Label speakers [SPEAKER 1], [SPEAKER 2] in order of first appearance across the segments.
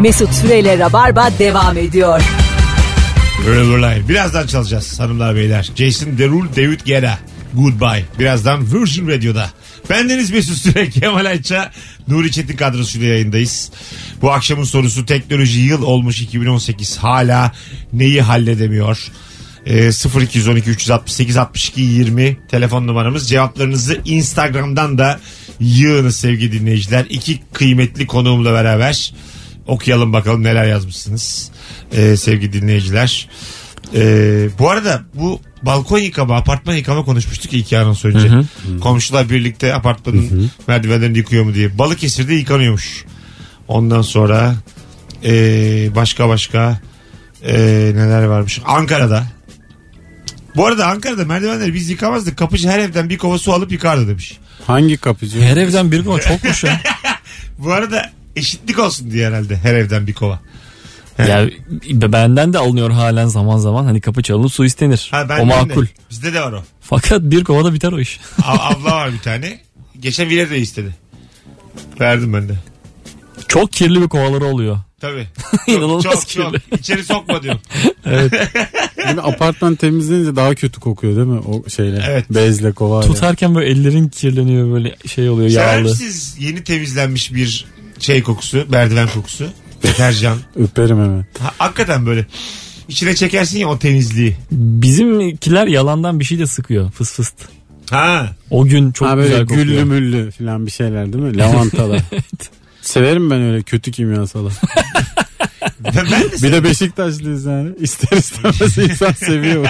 [SPEAKER 1] Mesut Süreyle Rabarba devam ediyor.
[SPEAKER 2] Rulay. Birazdan çalacağız hanımlar beyler. Jason Derulo, David Guetta. Goodbye. Birazdan Virgin Radio'da. Bendeniz Mesut Süre, Kemal Ayça, Nuri Çetin kadrosuyla yayındayız. Bu akşamın sorusu teknoloji yıl olmuş 2018 hala neyi halledemiyor? Ee, 0212 368 62 20 telefon numaramız. Cevaplarınızı Instagram'dan da yığınız sevgili dinleyiciler. İki kıymetli konuğumla beraber okuyalım bakalım neler yazmışsınız ee, sevgili dinleyiciler. Ee, bu arada bu balkon yıkama, apartman yıkama konuşmuştuk ya iki anons önce. Komşular birlikte apartmanın merdivenlerini yıkıyor mu diye. Balıkesir'de yıkanıyormuş. Ondan sonra ee, başka başka ee, neler varmış. Ankara'da. Bu arada Ankara'da merdivenleri biz yıkamazdık. Kapıcı her evden bir kova su alıp yıkardı demiş.
[SPEAKER 3] Hangi kapıcı?
[SPEAKER 4] Her evden bir kova çokmuş ya.
[SPEAKER 2] Bu arada eşitlik olsun diye herhalde her evden bir kova.
[SPEAKER 4] ya benden de alınıyor halen zaman zaman. Hani kapı çalınıp su istenir.
[SPEAKER 2] Ha, ben
[SPEAKER 4] o makul.
[SPEAKER 2] Bizde de var o.
[SPEAKER 4] Fakat bir kovada biter o iş.
[SPEAKER 2] A- abla var bir tane. Geçen Vire de istedi. Verdim ben de.
[SPEAKER 4] Çok kirli bir kovaları oluyor.
[SPEAKER 2] Tabii.
[SPEAKER 4] İnanılmaz
[SPEAKER 2] çok, çok.
[SPEAKER 4] kirli.
[SPEAKER 2] İçeri sokma diyorum.
[SPEAKER 3] Yani apartman temizlenince daha kötü kokuyor değil mi? O şeyle.
[SPEAKER 2] Evet.
[SPEAKER 3] Bezle kova.
[SPEAKER 4] Tutarken böyle ellerin kirleniyor böyle şey oluyor
[SPEAKER 2] Sever
[SPEAKER 4] yağlı.
[SPEAKER 2] misiniz yeni temizlenmiş bir şey kokusu, merdiven kokusu, deterjan.
[SPEAKER 3] Öperim hemen.
[SPEAKER 2] Ha, hakikaten böyle içine çekersin ya o temizliği.
[SPEAKER 4] Bizimkiler yalandan bir şey de sıkıyor fıs fıst.
[SPEAKER 2] Ha.
[SPEAKER 4] O gün çok
[SPEAKER 3] ha böyle
[SPEAKER 4] güzel kokuyor.
[SPEAKER 3] güllü müllü falan bir şeyler değil mi? Lavantala. Severim ben öyle kötü kimyasalı.
[SPEAKER 2] Ben, ben de
[SPEAKER 3] Bir de Beşiktaşlıyız yani. İster istemez insan seviyor.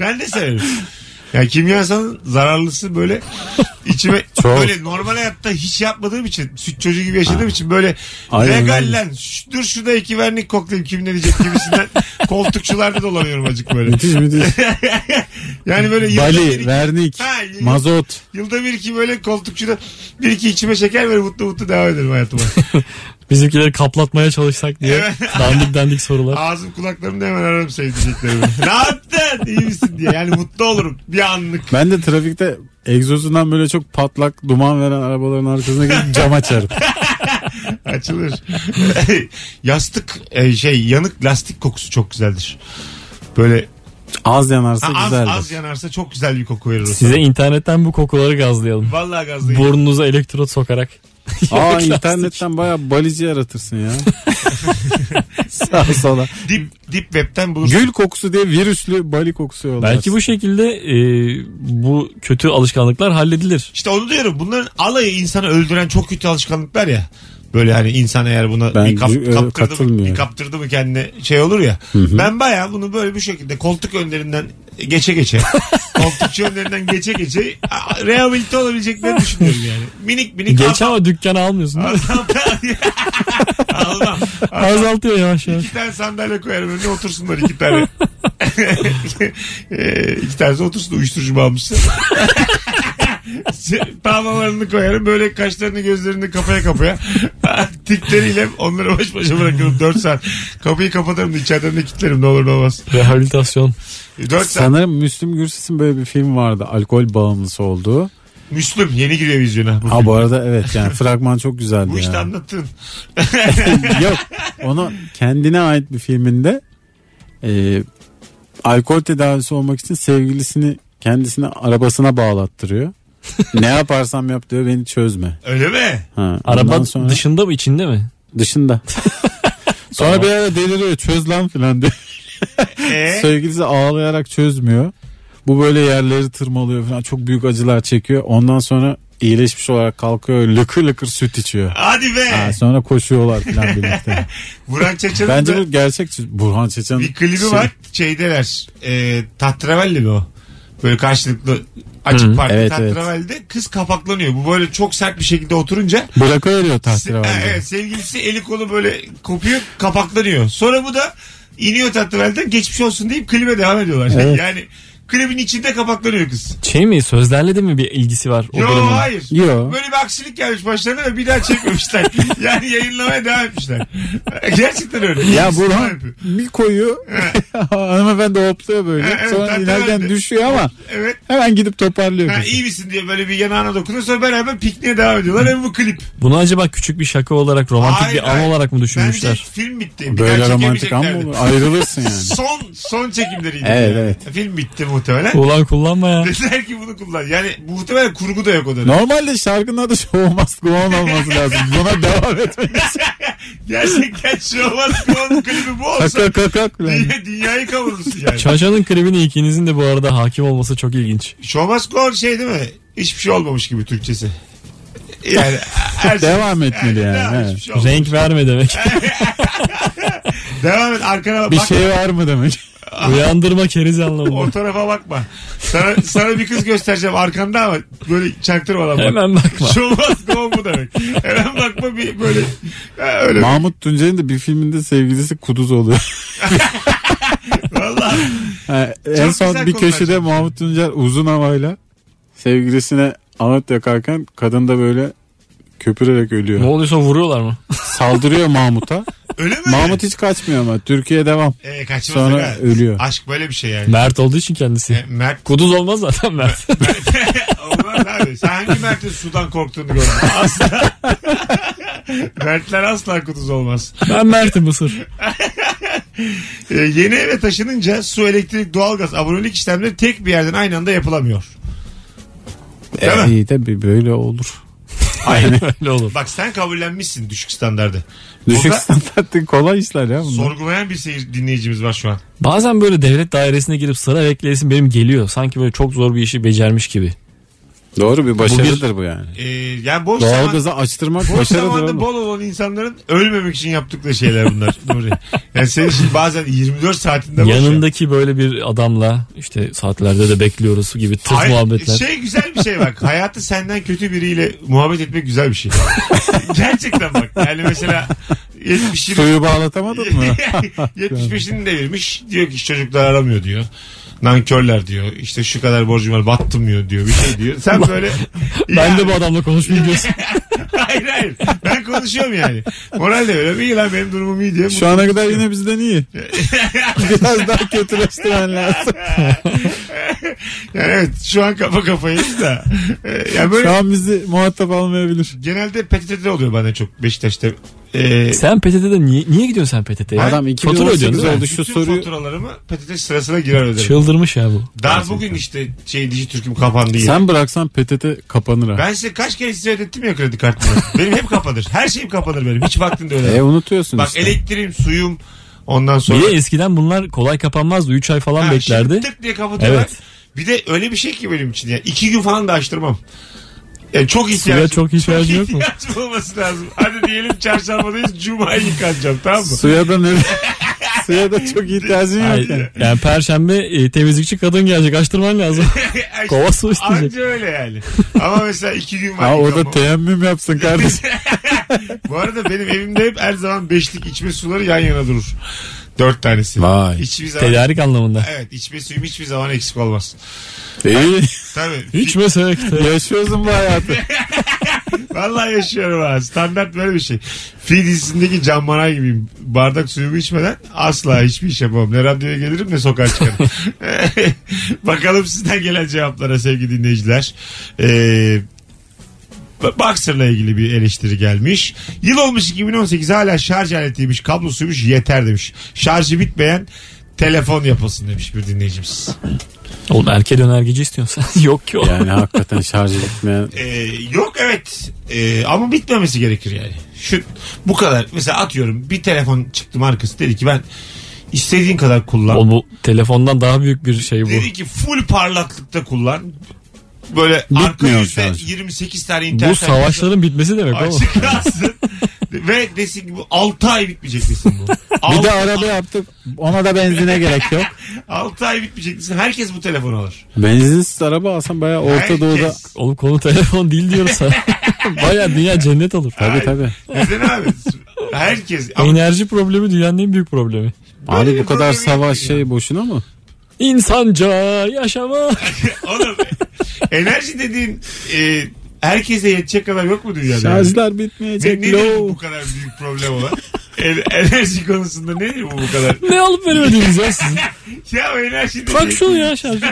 [SPEAKER 2] Ben de severim. Ya kimyasalın zararlısı böyle içime
[SPEAKER 3] Çok.
[SPEAKER 2] böyle normal hayatta hiç yapmadığım için süt çocuğu gibi yaşadığım için böyle
[SPEAKER 3] Aynen
[SPEAKER 2] legal
[SPEAKER 3] öyle.
[SPEAKER 2] lan şu- dur şurada iki vernik koklayayım kim ne diyecek gibisinden koltukçularda dolanıyorum acık böyle.
[SPEAKER 3] müthiş müthiş.
[SPEAKER 2] Yani böyle yılda bir,
[SPEAKER 3] Bali,
[SPEAKER 2] iki,
[SPEAKER 3] vernik,
[SPEAKER 2] Ha, y-
[SPEAKER 3] mazot.
[SPEAKER 2] yılda bir iki böyle koltukçuda bir iki içime çeker böyle mutlu mutlu devam ederim hayatıma.
[SPEAKER 4] Bizimkileri kaplatmaya çalışsak diye dandik dandik sorular.
[SPEAKER 2] Ağzım kulaklarımda hemen ararım sevdiceklerimi. ne yaptın iyi misin diye yani mutlu olurum bir anlık.
[SPEAKER 3] Ben de trafikte egzozundan böyle çok patlak duman veren arabaların arkasına gidip cam açarım.
[SPEAKER 2] Açılır. Yastık e, şey yanık lastik kokusu çok güzeldir. Böyle
[SPEAKER 3] Az yanarsa
[SPEAKER 2] Ha, az,
[SPEAKER 3] güzeldir.
[SPEAKER 2] az yanarsa çok güzel bir koku verir. o
[SPEAKER 4] Size internetten bu kokuları gazlayalım.
[SPEAKER 2] sana. Vallahi gazlayın.
[SPEAKER 4] Burnunuza elektrot sokarak.
[SPEAKER 3] Aa
[SPEAKER 4] Lastik.
[SPEAKER 3] internetten bayağı balici yaratırsın ya. Sağ sola.
[SPEAKER 2] Dip, dip webten bulursun.
[SPEAKER 3] Gül kokusu diye virüslü bali kokusu yollarsın.
[SPEAKER 4] Belki bu şekilde e, bu kötü alışkanlıklar halledilir.
[SPEAKER 2] İşte onu diyorum. Bunların alayı insanı öldüren çok kötü alışkanlıklar ya. Böyle hani insan eğer buna
[SPEAKER 3] Ben
[SPEAKER 2] bir, kap-
[SPEAKER 3] gü- e,
[SPEAKER 2] kaptırdı mı, bir
[SPEAKER 3] katılmıyorum.
[SPEAKER 2] kaptırdı mı kendine şey olur ya. Ben bayağı bunu böyle bir şekilde koltuk önlerinden geçe geçe. koltukçu önlerinden geçe geçe a- rehabilite olabileceklerini düşünüyorum yani. Minik minik
[SPEAKER 4] Geç ama dükkanı almıyorsun. değil mi?
[SPEAKER 2] Adam- Almam.
[SPEAKER 4] Azaltıyor yavaş yavaş.
[SPEAKER 2] İki tane sandalye koyarım önüne otursunlar iki tane. e, iki tanesi otursun uyuşturucu bağımlısı. Tavlalarını koyarım böyle kaşlarını gözlerini kafaya kapaya. Tikleriyle onları baş başa bırakırım 4 saat. Kapıyı kapatırım da içeriden de kilitlerim ne olur ne olmaz.
[SPEAKER 4] Rehabilitasyon.
[SPEAKER 2] 4 saat.
[SPEAKER 3] Sanırım Müslüm Gürses'in böyle bir film vardı. Alkol bağımlısı olduğu.
[SPEAKER 2] Müslüm yeni giriyor vizyona. Bu,
[SPEAKER 3] Ha bu arada evet yani fragman çok güzeldi
[SPEAKER 2] bu işte
[SPEAKER 3] ya.
[SPEAKER 2] anlattın.
[SPEAKER 3] Yok onu kendine ait bir filminde e, alkol tedavisi olmak için sevgilisini kendisine arabasına bağlattırıyor. ne yaparsam yap diyor beni çözme.
[SPEAKER 2] Öyle mi?
[SPEAKER 3] Ha,
[SPEAKER 4] Araba
[SPEAKER 3] ondan sonra
[SPEAKER 4] dışında mı içinde mi?
[SPEAKER 3] dışında. sonra bir ara deliriyor çöz lan filan diyor.
[SPEAKER 2] E,
[SPEAKER 3] Sevgilisi ağlayarak çözmüyor. Bu böyle yerleri tırmalıyor falan. Çok büyük acılar çekiyor. Ondan sonra iyileşmiş olarak kalkıyor. Lıkır lıkır süt içiyor.
[SPEAKER 2] hadi be.
[SPEAKER 3] Ha, sonra koşuyorlar falan birlikte.
[SPEAKER 2] Vuran Çeçen'in
[SPEAKER 3] Bence
[SPEAKER 2] de-
[SPEAKER 3] bu gerçek Çe- Burhan Çeçen.
[SPEAKER 2] Bir klibi
[SPEAKER 3] şey-
[SPEAKER 2] var şeydeler. E, Tatravelli mi o? Böyle karşılıklı açık parti
[SPEAKER 3] Evet,
[SPEAKER 2] Tatravelli'de kız kapaklanıyor. Bu böyle çok sert bir şekilde oturunca
[SPEAKER 3] şey, Bırakıveriyor tahsil
[SPEAKER 2] se- ha,
[SPEAKER 3] halinde.
[SPEAKER 2] evet, sevgilisi eli kolu böyle kopuyor kapaklanıyor. Sonra bu da iniyor Tatravelli'den geçmiş olsun deyip klibe devam ediyorlar.
[SPEAKER 3] Evet.
[SPEAKER 2] yani Klibin içinde kapaklanıyor kız.
[SPEAKER 4] Şey mi sözlerle de mi bir ilgisi var o
[SPEAKER 2] Yo
[SPEAKER 4] durumun?
[SPEAKER 2] hayır.
[SPEAKER 3] Yo.
[SPEAKER 2] Böyle bir aksilik gelmiş başlarına ve bir daha çekmemişler. yani yayınlamaya devam etmişler. Gerçekten öyle.
[SPEAKER 3] Ya
[SPEAKER 2] Devam
[SPEAKER 3] Burhan
[SPEAKER 2] yapıyor.
[SPEAKER 3] bir koyuyor. Hanımefendi hopluyor böyle.
[SPEAKER 2] Evet,
[SPEAKER 3] Sonra
[SPEAKER 2] zaten öyle.
[SPEAKER 3] inerken düşüyor ama
[SPEAKER 2] Evet.
[SPEAKER 3] hemen gidip toparlıyor.
[SPEAKER 2] Ha,
[SPEAKER 3] kızı.
[SPEAKER 2] iyi misin diye böyle bir yanağına dokunuyor sonra beraber pikniğe devam ediyorlar ve bu klip.
[SPEAKER 4] Bunu acaba küçük bir şaka olarak romantik
[SPEAKER 2] Hayır,
[SPEAKER 4] bir an
[SPEAKER 2] hayır.
[SPEAKER 4] olarak mı
[SPEAKER 2] Bence
[SPEAKER 4] düşünmüşler?
[SPEAKER 2] film bitti. Bir
[SPEAKER 3] Böyle
[SPEAKER 2] daha
[SPEAKER 3] romantik an mı olur?
[SPEAKER 2] çekemeyeceklerdi.
[SPEAKER 3] Ayrılırsın yani.
[SPEAKER 2] Son son çekimleriydi.
[SPEAKER 3] Evet,
[SPEAKER 2] yani.
[SPEAKER 3] evet.
[SPEAKER 2] Film bitti muhtemelen.
[SPEAKER 4] Ulan kullanma ya.
[SPEAKER 2] Dediler ki bunu kullan. Yani muhtemelen kurgu da yok o dönem.
[SPEAKER 3] Normalde şarkının adı Show Must Go On olması lazım. Buna devam etmelisin.
[SPEAKER 2] Gerçekten şey Şovaz Kuan klibi bu olsa
[SPEAKER 3] Kaka kaka.
[SPEAKER 2] dünya, dünyayı kavurursun yani.
[SPEAKER 4] Çarşanın klibine ikinizin de bu arada hakim olması çok ilginç.
[SPEAKER 2] Şovaz Kuan şey değil mi? Hiçbir şey olmamış gibi Türkçesi. Yani her şey-
[SPEAKER 3] Devam etmeli yani.
[SPEAKER 2] Devam,
[SPEAKER 3] evet.
[SPEAKER 2] hiçbir şey olmamış.
[SPEAKER 4] Renk verme demek.
[SPEAKER 2] Devam et arkana
[SPEAKER 3] Bir
[SPEAKER 2] bak.
[SPEAKER 3] şey var mı demek.
[SPEAKER 4] Uyandırma keriz
[SPEAKER 2] O
[SPEAKER 4] anlamında.
[SPEAKER 2] tarafa bakma. Sana, sana bir kız göstereceğim arkanda ama böyle çaktırmadan bak.
[SPEAKER 4] Hemen bakma.
[SPEAKER 2] Şovaz Kuan bu demek. Hemen bakma bir böyle. Ha, öyle.
[SPEAKER 3] Mahmut Tuncer'in de bir filminde sevgilisi kuduz oluyor.
[SPEAKER 2] Vallahi.
[SPEAKER 3] Ha, en
[SPEAKER 2] güzel
[SPEAKER 3] son bir
[SPEAKER 2] konular
[SPEAKER 3] köşede
[SPEAKER 2] canım.
[SPEAKER 3] Mahmut Tuncer uzun havayla sevgilisine anıt yakarken kadın da böyle köpürerek
[SPEAKER 4] Ne
[SPEAKER 3] ölüyor.
[SPEAKER 4] oluyorsa vuruyorlar mı?
[SPEAKER 3] Saldırıyor Mahmut'a.
[SPEAKER 2] Öyle mi?
[SPEAKER 3] Mahmut hiç kaçmıyor ama Türkiye devam.
[SPEAKER 2] Ee, kaçmaz
[SPEAKER 3] Sonra
[SPEAKER 2] aga.
[SPEAKER 3] ölüyor.
[SPEAKER 2] Aşk böyle bir şey yani.
[SPEAKER 4] Mert olduğu için kendisi.
[SPEAKER 2] E, Mert
[SPEAKER 4] Kuduz olmaz zaten Mert.
[SPEAKER 2] Olmaz abi. Sen hangi Mert'in sudan korktuğunu gördün? Asla. Mertler asla kuduz olmaz.
[SPEAKER 4] ben Mert'im Mısır.
[SPEAKER 2] Ee, yeni eve taşınınca su, elektrik, doğalgaz, abonelik işlemleri tek bir yerden aynı anda yapılamıyor. Değil mi?
[SPEAKER 3] iyi de bir böyle olur.
[SPEAKER 2] Aynen.
[SPEAKER 4] Öyle olur.
[SPEAKER 2] Bak sen kabullenmişsin düşük standardı.
[SPEAKER 3] Düşük
[SPEAKER 2] Burada
[SPEAKER 3] standartın kolay işler ya bunlar.
[SPEAKER 2] sorgulayan bir seyir dinleyicimiz var şu an.
[SPEAKER 4] Bazen böyle devlet dairesine girip sıra bekleyesim benim geliyor. Sanki böyle çok zor bir işi becermiş gibi.
[SPEAKER 3] Doğru bir
[SPEAKER 4] başarıdır
[SPEAKER 3] başarıdır bu, yani.
[SPEAKER 2] Ee, yani boş zaman...
[SPEAKER 3] Doğalgazı açtırmak
[SPEAKER 2] Boş
[SPEAKER 3] başarıdır
[SPEAKER 2] zamanda
[SPEAKER 3] oğlum.
[SPEAKER 2] bol olan insanların ölmemek için yaptıkları şeyler bunlar. Nuri. Yani senin şimdi bazen 24 saatinde boş ya.
[SPEAKER 4] Yanındaki böyle bir adamla işte saatlerde de bekliyoruz gibi tız
[SPEAKER 2] Ay,
[SPEAKER 4] muhabbetler.
[SPEAKER 2] Şey güzel bir şey bak. Hayatı senden kötü biriyle muhabbet etmek güzel bir şey. Gerçekten bak. Yani mesela 70'ini
[SPEAKER 3] Suyu bağlatamadın mı?
[SPEAKER 2] 75'ini devirmiş. Diyor ki "Hiç çocuklar aramıyor diyor. Nankörler diyor. İşte şu kadar borcum var battım diyor diyor. Bir şey diyor. Sen böyle
[SPEAKER 4] ben
[SPEAKER 2] Ya,
[SPEAKER 4] de bu adamla konuşmayayım diyorsun.
[SPEAKER 2] Hayır hayır. Ben konuşuyorum yani. Moral de öyle. İyi lan benim durumum iyi diyor.
[SPEAKER 3] Şu ana kadar yine bizden iyi. Biraz daha kötüleştirmen lazım.
[SPEAKER 2] Yani evet şu an kafa kafayız da. Ee, Yani böyle
[SPEAKER 3] Şu an bizi muhatap almayabilir.
[SPEAKER 2] genelde PTT'de oluyor bana çok Beşiktaş'ta. Ee,
[SPEAKER 4] sen PTT'de niye, niye gidiyorsun sen PTT'ye?
[SPEAKER 3] Adam
[SPEAKER 4] Fatura ödüyorsun
[SPEAKER 3] 2018
[SPEAKER 4] değil mi?
[SPEAKER 3] oldu şu
[SPEAKER 2] Bütün
[SPEAKER 3] soruyu.
[SPEAKER 2] faturalarımı PTT sırasına girer öderim.
[SPEAKER 4] Çıldırmış ya bu.
[SPEAKER 2] Daha bugün işte şey Dijitürk'üm kapandı yine.
[SPEAKER 3] Sen bıraksan PTT kapanır ha.
[SPEAKER 2] Ben size kaç kere size ödettim ya kredi kartımı. benim hep kapanır. Her şeyim kapanır benim. Hiç vaktinde öyle.
[SPEAKER 3] E unutuyorsun
[SPEAKER 2] Bak
[SPEAKER 3] işte.
[SPEAKER 2] elektriğim, suyum ondan sonra.
[SPEAKER 4] Bir de eskiden bunlar kolay kapanmazdı. 3 ay falan
[SPEAKER 2] Ha,
[SPEAKER 4] beklerdi.
[SPEAKER 2] şimdi Tık diye kapatıyorlar.
[SPEAKER 4] Evet.
[SPEAKER 2] Bir de öyle bir şey ki benim için ya. İki gün falan da açtırmam. Yani çok ihtiyacım.
[SPEAKER 4] Suya çok ihtiyacın yok mu?
[SPEAKER 2] ihtiyacım olması lazım. Hadi diyelim çarşambadayız. Cuma'yı yıkanacağım tamam mı?
[SPEAKER 3] Suya da ne? Suya da çok ihtiyacın
[SPEAKER 4] Ay,
[SPEAKER 3] yok yani.
[SPEAKER 4] yani perşembe e, temizlikçi kadın gelecek açtırman lazım. Kova su isteyecek.
[SPEAKER 2] Anca öyle yani. Ama mesela iki gün var.
[SPEAKER 3] Ha orada
[SPEAKER 2] yıkamam.
[SPEAKER 3] teyemmüm yapsın kardeşim.
[SPEAKER 2] Bu arada benim evimde hep her zaman beşlik içme suları yan yana durur. Dört tanesi.
[SPEAKER 3] Vay.
[SPEAKER 2] Hiçbir zaman...
[SPEAKER 4] Tedarik anlamında.
[SPEAKER 2] Evet içme suyum hiçbir zaman eksik olmaz.
[SPEAKER 3] İyi.
[SPEAKER 2] Tabii.
[SPEAKER 4] İçmesek de.
[SPEAKER 3] Yaşıyorsun bu hayatı.
[SPEAKER 2] Vallahi yaşıyorum ha. Standart böyle bir şey. Fi dizisindeki Can Manay gibiyim. Bardak suyumu içmeden asla hiçbir iş yapamam. Ne radyoya gelirim ne sokağa çıkarım. Bakalım sizden gelen cevaplara sevgili dinleyiciler. Ee, Boxer'la ilgili bir eleştiri gelmiş. Yıl olmuş 2018 hala şarj aletiymiş, kablosuymuş yeter demiş. Şarjı bitmeyen telefon yapılsın demiş bir dinleyicimiz.
[SPEAKER 4] Oğlum erkek dönergeci istiyorsun sen. Yok ki o.
[SPEAKER 3] Yani hakikaten şarj etmeyen.
[SPEAKER 2] Ee, yok evet Ee, ama bitmemesi gerekir yani. Şu bu kadar mesela atıyorum bir telefon çıktı markası dedi ki ben istediğin kadar kullan.
[SPEAKER 4] O bu telefondan daha büyük bir şey bu.
[SPEAKER 2] dedi ki full parlaklıkta kullan. Böyle arka
[SPEAKER 3] Bitmiyor
[SPEAKER 2] yüzde
[SPEAKER 3] şarj.
[SPEAKER 2] 28 tane
[SPEAKER 4] Bu
[SPEAKER 2] internet sayfası
[SPEAKER 4] savaşların bitmesi demek oğlum.
[SPEAKER 2] açık kalsın. Ve desin ki bu 6 ay bitmeyecek desin bu.
[SPEAKER 3] Bir
[SPEAKER 2] Altı-
[SPEAKER 3] de araba yaptık. Ona da benzine gerek yok.
[SPEAKER 2] 6 ay bitmeyecek desin. Herkes bu telefonu alır.
[SPEAKER 3] Benzinsiz araba alsan bayağı Orta Doğu'da.
[SPEAKER 2] Herkes.
[SPEAKER 4] Oğlum konu telefon değil diyoruz sana. Baya dünya cennet olur.
[SPEAKER 3] Tabii tabii.
[SPEAKER 2] Neden abi? Herkes. Ama
[SPEAKER 4] Enerji problemi dünyanın en büyük problemi.
[SPEAKER 2] Böyle
[SPEAKER 3] Abi
[SPEAKER 2] bir
[SPEAKER 3] bu kadar
[SPEAKER 2] problem yok
[SPEAKER 3] savaş
[SPEAKER 2] ya.
[SPEAKER 3] şey boşuna mı?
[SPEAKER 4] İnsanca yaşamak.
[SPEAKER 2] Oğlum enerji dediğin e, herkese yetecek kadar yok mu dünyada?
[SPEAKER 3] Şarjlar
[SPEAKER 2] Ne,
[SPEAKER 3] bitmeyecek.
[SPEAKER 2] nedir
[SPEAKER 3] Low.
[SPEAKER 2] bu kadar büyük problem olan? En- enerji konusunda nedir bu bu kadar?
[SPEAKER 4] ne alıp veremediniz ya sizin?
[SPEAKER 2] Ya o enerji dedi.
[SPEAKER 4] Bak şunu ya şarjı.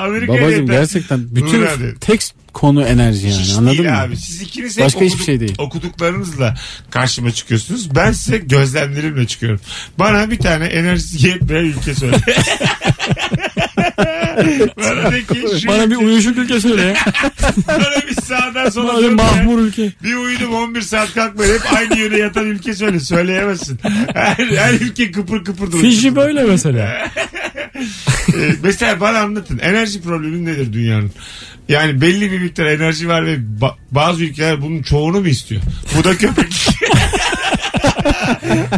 [SPEAKER 2] Amerika'ya
[SPEAKER 3] Babacım
[SPEAKER 2] yeter.
[SPEAKER 3] gerçekten
[SPEAKER 2] Uğur
[SPEAKER 3] bütün
[SPEAKER 2] abi.
[SPEAKER 3] tek konu enerji yani
[SPEAKER 2] Hiç
[SPEAKER 3] anladın
[SPEAKER 2] değil
[SPEAKER 3] mı?
[SPEAKER 2] abi. Siz ikiniz hep
[SPEAKER 3] Başka hiçbir şey değil.
[SPEAKER 2] okuduklarınızla karşıma çıkıyorsunuz. Ben size gözlemlerimle çıkıyorum. Bana bir tane enerjisi yetmeyen ülke söyle. bana de ki şu
[SPEAKER 4] Bana bir uyuşuk ülke söyle ya.
[SPEAKER 2] bana bir sağdan sola
[SPEAKER 4] Bana bir
[SPEAKER 2] dönme.
[SPEAKER 4] mahmur ülke.
[SPEAKER 2] Bir uyudum 11 saat kalkmayın. Hep aynı yöne yatan ülke söyle. Söyleyemezsin. Her, her ülke kıpır kıpır durur.
[SPEAKER 4] Fiji böyle mesela.
[SPEAKER 2] Ee, mesela bana anlatın. Enerji problemi nedir dünyanın? Yani belli bir miktar enerji var ve ba- bazı ülkeler bunun çoğunu mu istiyor? Bu da köpek.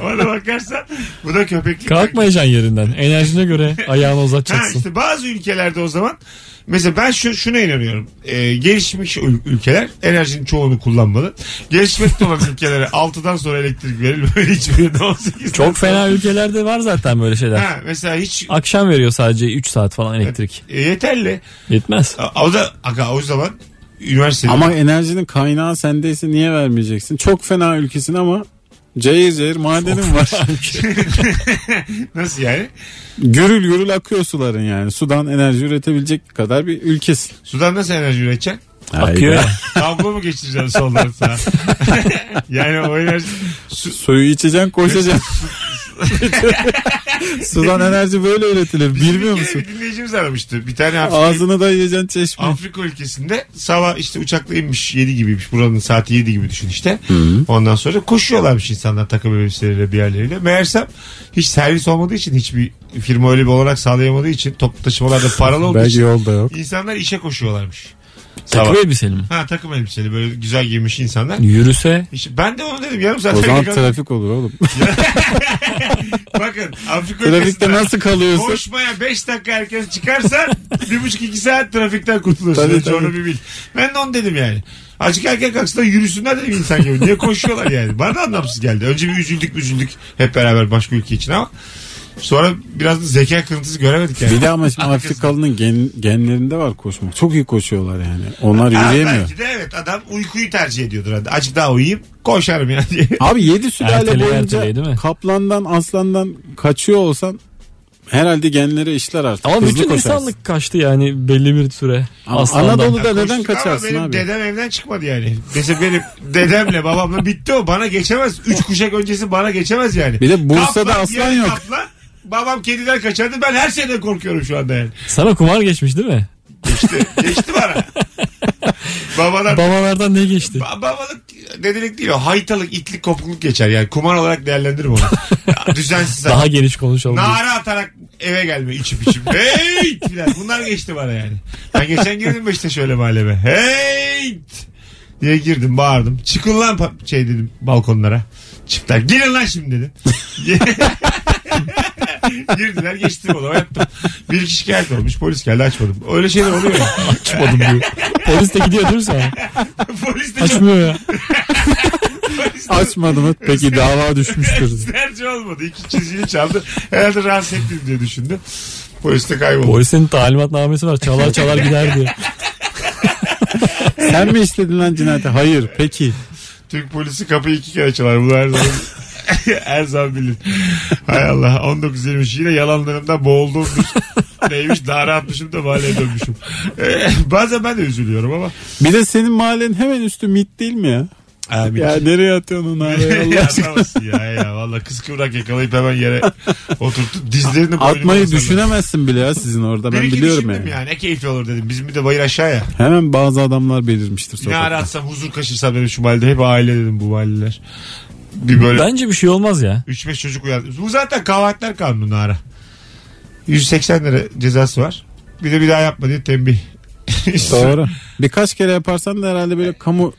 [SPEAKER 2] Ona bakarsan bu da köpeklik.
[SPEAKER 4] Kalkmayacaksın yerinden. Enerjine göre ayağını
[SPEAKER 2] Ha
[SPEAKER 4] uzatacaksın.
[SPEAKER 2] işte bazı ülkelerde o zaman mesela ben şu şuna inanıyorum. Ee, gelişmiş ül- ülkeler enerjinin çoğunu kullanmalı. Gelişmekte olan ülkelere 6'dan sonra elektrik verilmeli. Hiçbirinde 18.
[SPEAKER 4] Çok fena ülkelerde var zaten böyle şeyler.
[SPEAKER 2] Ha, mesela hiç
[SPEAKER 4] Akşam veriyor sadece 3 saat falan elektrik.
[SPEAKER 2] e, yeterli.
[SPEAKER 4] Yetmez.
[SPEAKER 2] A- O da aga o zaman üniversitede
[SPEAKER 3] Ama enerjinin kaynağı sendeyse niye vermeyeceksin? Çok fena ülkesin ama cayır cayır madenin var.
[SPEAKER 2] nasıl yani?
[SPEAKER 3] gürül gürül akıyor suların yani. Sudan enerji üretebilecek kadar bir ülkesin.
[SPEAKER 2] Sudan nasıl enerji üreteceksin?
[SPEAKER 4] Akıyor ya.
[SPEAKER 3] Hayda.
[SPEAKER 2] Tablo mu geçireceksin soldan sağa? yani o enerji su,
[SPEAKER 3] Suyu içeceksin koşacaksın. Sudan enerji böyle üretilir. Bilmiyor
[SPEAKER 2] Bir kere
[SPEAKER 3] musun?
[SPEAKER 2] Bir dinleyicimiz aramıştı. Bir tane Afrika,
[SPEAKER 3] Ağzını da yiyeceksin çeşme.
[SPEAKER 2] Afrika ülkesinde sabah işte uçakla inmiş 7 gibiymiş. Buranın saati 7 gibi düşün işte. Ondan sonra koşuyorlarmış insanlar takım elbiseleriyle bir yerleriyle. Meğersem hiç servis olmadığı için hiçbir firma öyle bir olarak sağlayamadığı için toplu taşımalarda paralı olduğu
[SPEAKER 3] Belki
[SPEAKER 2] için
[SPEAKER 3] yolda yok.
[SPEAKER 2] insanlar işe koşuyorlarmış. Sabah.
[SPEAKER 4] Takım elbiseli mi?
[SPEAKER 2] Ha takım elbiseli böyle güzel giymiş insanlar.
[SPEAKER 4] Yürüse
[SPEAKER 2] İşte ben de onu dedim yarım saat
[SPEAKER 3] O zaman
[SPEAKER 2] önce-
[SPEAKER 3] trafik olur oğlum.
[SPEAKER 2] Bakın Afrika
[SPEAKER 3] Trafikte
[SPEAKER 2] ülkesinde
[SPEAKER 3] nasıl kalıyorsun?
[SPEAKER 2] koşmaya 5 dakika erken çıkarsan 1,5-2 saat trafikten kurtulursun.
[SPEAKER 3] Tabii,
[SPEAKER 2] Önce
[SPEAKER 3] tabii.
[SPEAKER 2] Onu bir bil. Ben de onu dedim yani. Azıcık erken kalksınlar yürüsünler dedim insan gibi. Niye koşuyorlar yani? Bana da anlamsız geldi. Önce bir üzüldük üzüldük hep beraber başka ülke için ama sonra biraz da zeka kırıntısı göremedik yani.
[SPEAKER 3] Bir de ama şimdi
[SPEAKER 2] Arkasında.
[SPEAKER 3] Afrikalı'nın gen- genlerinde var koşmak. Çok iyi koşuyorlar yani. Onlar
[SPEAKER 2] Ha,
[SPEAKER 3] yürüyemiyor.
[SPEAKER 2] belki de evet adam uykuyu tercih ediyordur. Hadi azıcık daha uyuyayım koşarım yani diye.
[SPEAKER 3] Abi 7 sülale
[SPEAKER 4] Ertele,
[SPEAKER 3] boyunca
[SPEAKER 4] ertele, değil mi?
[SPEAKER 3] kaplandan aslandan kaçıyor olsan herhalde genlere işler artık.
[SPEAKER 4] Ama
[SPEAKER 3] Hızlı
[SPEAKER 4] bütün
[SPEAKER 3] koşarsın.
[SPEAKER 4] insanlık kaçtı yani belli bir süre.
[SPEAKER 3] Ama
[SPEAKER 4] Aslandan.
[SPEAKER 3] Anadolu'da
[SPEAKER 2] Ya
[SPEAKER 3] neden
[SPEAKER 2] koştuk ama
[SPEAKER 3] kaçarsın
[SPEAKER 2] benim
[SPEAKER 3] abi?
[SPEAKER 2] dedem evden çıkmadı yani. Mesela benim dedemle babamla bitti o. Bana geçemez. Üç kuşak öncesi bana geçemez yani.
[SPEAKER 3] Bir de Bursa'da
[SPEAKER 2] Kaplan,
[SPEAKER 3] aslan
[SPEAKER 2] yarı
[SPEAKER 3] yok.
[SPEAKER 2] kaplan. babam kediden kaçardı. Ben her şeyden korkuyorum şu anda yani.
[SPEAKER 4] Sana kumar geçmiş değil mi?
[SPEAKER 2] İşte geçti bana. Babadan
[SPEAKER 4] Babalardan ne geçti?
[SPEAKER 2] Ba- babalık dedelik değil o. Haytalık, itlik, kopukluk geçer yani. Kumar olarak değerlendiririm onu. Ya, Düzensiz.
[SPEAKER 4] Daha geniş konuşalım. diye.
[SPEAKER 2] Nara atarak eve gelme içip içip. Hey! Filan. Bunlar geçti bana yani. Ben geçen girdim işte şöyle mahalleme. Hey! diye girdim bağırdım. Çıkın lan pa- şey dedim balkonlara. Çıktılar. Girin lan şimdi dedim. Girdiler geçtim onu yaptım. Bir kişi şikayet olmuş polis geldi açmadım. Öyle şeyler oluyor ya.
[SPEAKER 4] Açmadım diyor. Polis de gidiyor değil mi sana?
[SPEAKER 2] polis de
[SPEAKER 4] Açmıyor ya.
[SPEAKER 2] polis de-
[SPEAKER 3] Açmadı mı? Peki dava düşmüştür.
[SPEAKER 2] Tercih olmadı. İki çizgili çaldı. Herhalde rahatsız ettim diye düşündü. Polis de kayboldu.
[SPEAKER 4] Polisin talimatnamesi var. Çalar çalar gider diyor.
[SPEAKER 3] Sen mi işledin lan cinayeti? Hayır. Peki.
[SPEAKER 2] Türk polisi kapıyı iki kere çalar. Bunu her zaman, her zaman bilir. Hay Allah 19-20 yine yalanlarımda boğuldum. Neymiş dara atmışım da mahalleye dönmüşüm. Ee, bazen ben de üzülüyorum ama.
[SPEAKER 3] Bir de senin mahallenin hemen üstü mit değil mi ya? Ya nereye atıyorsun onu abi? Allah aşkına?
[SPEAKER 2] Anlamazsın ya ya valla kız kıvrak yakalayıp hemen yere oturtup dizlerini boynuma
[SPEAKER 3] Atmayı
[SPEAKER 2] asarlar.
[SPEAKER 3] düşünemezsin bile ya sizin orada.
[SPEAKER 2] Bir
[SPEAKER 3] Ben
[SPEAKER 2] iki
[SPEAKER 3] biliyorum
[SPEAKER 2] düşündüm
[SPEAKER 3] yani.
[SPEAKER 2] ya. Ne keyifli olur dedim. Bizim bir de bayır aşağıya.
[SPEAKER 3] Hemen bazı adamlar belirmiştir
[SPEAKER 2] Ne
[SPEAKER 3] sokakta.
[SPEAKER 2] ara atsam huzur kaçırsam dedim şu mahallede. Hep aile dedim bu mahalleler. Bir böyle
[SPEAKER 4] Bence bir şey olmaz ya.
[SPEAKER 2] 3-5 çocuk uyandı. Bu zaten kahvaltılar kanunu ara. 180 lira cezası var. Bir de bir daha yapma diye tembih.
[SPEAKER 3] Doğru. Birkaç kere yaparsan da herhalde böyle kamu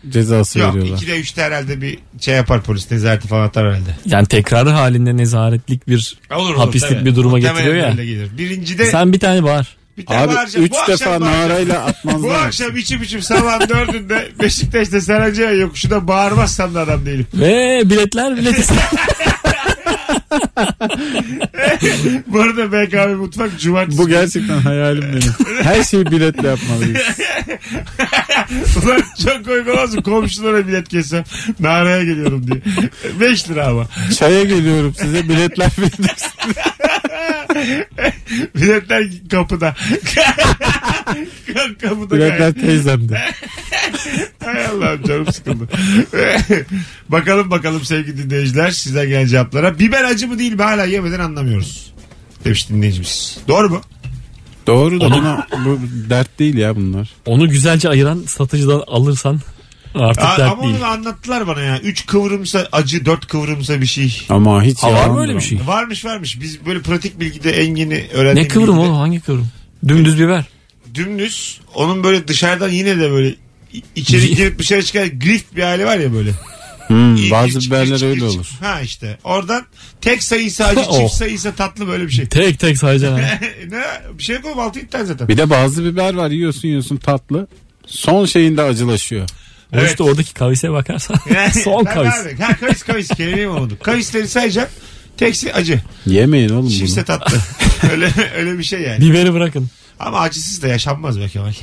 [SPEAKER 3] cezası
[SPEAKER 2] Yok
[SPEAKER 3] veriyorlar.
[SPEAKER 2] 2'de 3'te herhalde bir şey yapar polis nezareti falan atar herhalde.
[SPEAKER 4] Yani tekrar halinde nezaretlik bir hapislik
[SPEAKER 2] tabii.
[SPEAKER 4] bir duruma
[SPEAKER 2] Muhtemelen
[SPEAKER 4] getiriyor ya.
[SPEAKER 2] öyle Gelir. Birincide
[SPEAKER 4] Sen bir tane bağır.
[SPEAKER 2] bir tane
[SPEAKER 3] Abi
[SPEAKER 2] bağıracağım.
[SPEAKER 3] üç
[SPEAKER 2] Bu akşam
[SPEAKER 3] defa
[SPEAKER 2] bağıracağım.
[SPEAKER 3] narayla
[SPEAKER 2] Bu
[SPEAKER 3] atmazlar.
[SPEAKER 2] akşam içim içim sabahın dördünde Beşiktaş'ta Sarancıya yokuşunda bağırmazsam da adam değilim.
[SPEAKER 4] Ve biletler bilet
[SPEAKER 2] Bu arada BKM Mutfak Cumartesi.
[SPEAKER 3] Bu gerçekten hayalim benim. Her şeyi biletle yapmalıyız.
[SPEAKER 2] Ulan çok komik olmaz mı? Komşulara bilet kessem. Naraya geliyorum diye. 5 lira ama.
[SPEAKER 3] Çaya geliyorum size biletler verin.
[SPEAKER 2] Biletler kapıda. kapıda
[SPEAKER 3] Biletler
[SPEAKER 2] gayet.
[SPEAKER 3] teyzemde.
[SPEAKER 2] Hay Allah'ım canım sıkıldı. bakalım bakalım sevgili dinleyiciler sizden gelen cevaplara. Biber acı mı değil mi hala yemeden anlamıyoruz. Demiş dinleyicimiz. Doğru mu?
[SPEAKER 3] Doğru da buna bu dert değil ya bunlar.
[SPEAKER 4] Onu güzelce ayıran satıcıdan alırsan artık
[SPEAKER 2] Aa,
[SPEAKER 4] dert
[SPEAKER 2] ama
[SPEAKER 4] değil.
[SPEAKER 2] onu anlattılar bana ya. 3 kıvrımsa acı, 4 kıvrımsa bir şey.
[SPEAKER 3] Ama hiç
[SPEAKER 4] Ha, var
[SPEAKER 3] yalan
[SPEAKER 4] mı öyle
[SPEAKER 3] da-
[SPEAKER 4] bir şey?
[SPEAKER 2] Varmış varmış. Biz böyle pratik bilgide en yeni öğrendiğimiz
[SPEAKER 4] Ne kıvrım oğlum hangi kıvrım? Dümdüz biber.
[SPEAKER 2] Dümdüz. Onun böyle dışarıdan yine de böyle i- içeri girip dışarı çıkan grift bir hali var ya böyle.
[SPEAKER 3] Hmm,
[SPEAKER 2] İ-
[SPEAKER 3] bazı
[SPEAKER 2] iç- iç-
[SPEAKER 3] biberler öyle
[SPEAKER 2] iç-
[SPEAKER 3] olur.
[SPEAKER 2] Ha işte. Oradan tek sayısı acı,
[SPEAKER 4] Oh.
[SPEAKER 2] çift sayısı tatlı böyle bir şey.
[SPEAKER 4] Tek tek sayacaksın. ha.
[SPEAKER 2] ne? Bir şey koyup altı iptal zaten.
[SPEAKER 3] Bir de bazı biber var yiyorsun yiyorsun tatlı. Son şeyinde acılaşıyor.
[SPEAKER 4] O
[SPEAKER 2] Evet.
[SPEAKER 4] işte oradaki kavise bakarsan son
[SPEAKER 2] Ben
[SPEAKER 4] kavis.
[SPEAKER 2] abi, Ha kavis kavis kelimeyi mi oldu? Kavisleri sayacağım. Teksi acı.
[SPEAKER 3] Yemeyin oğlum
[SPEAKER 2] Çiftse
[SPEAKER 3] bunu.
[SPEAKER 2] tatlı. öyle, öyle bir şey yani.
[SPEAKER 4] Biberi bırakın.
[SPEAKER 2] Ama acısız da yaşanmaz be Kemal.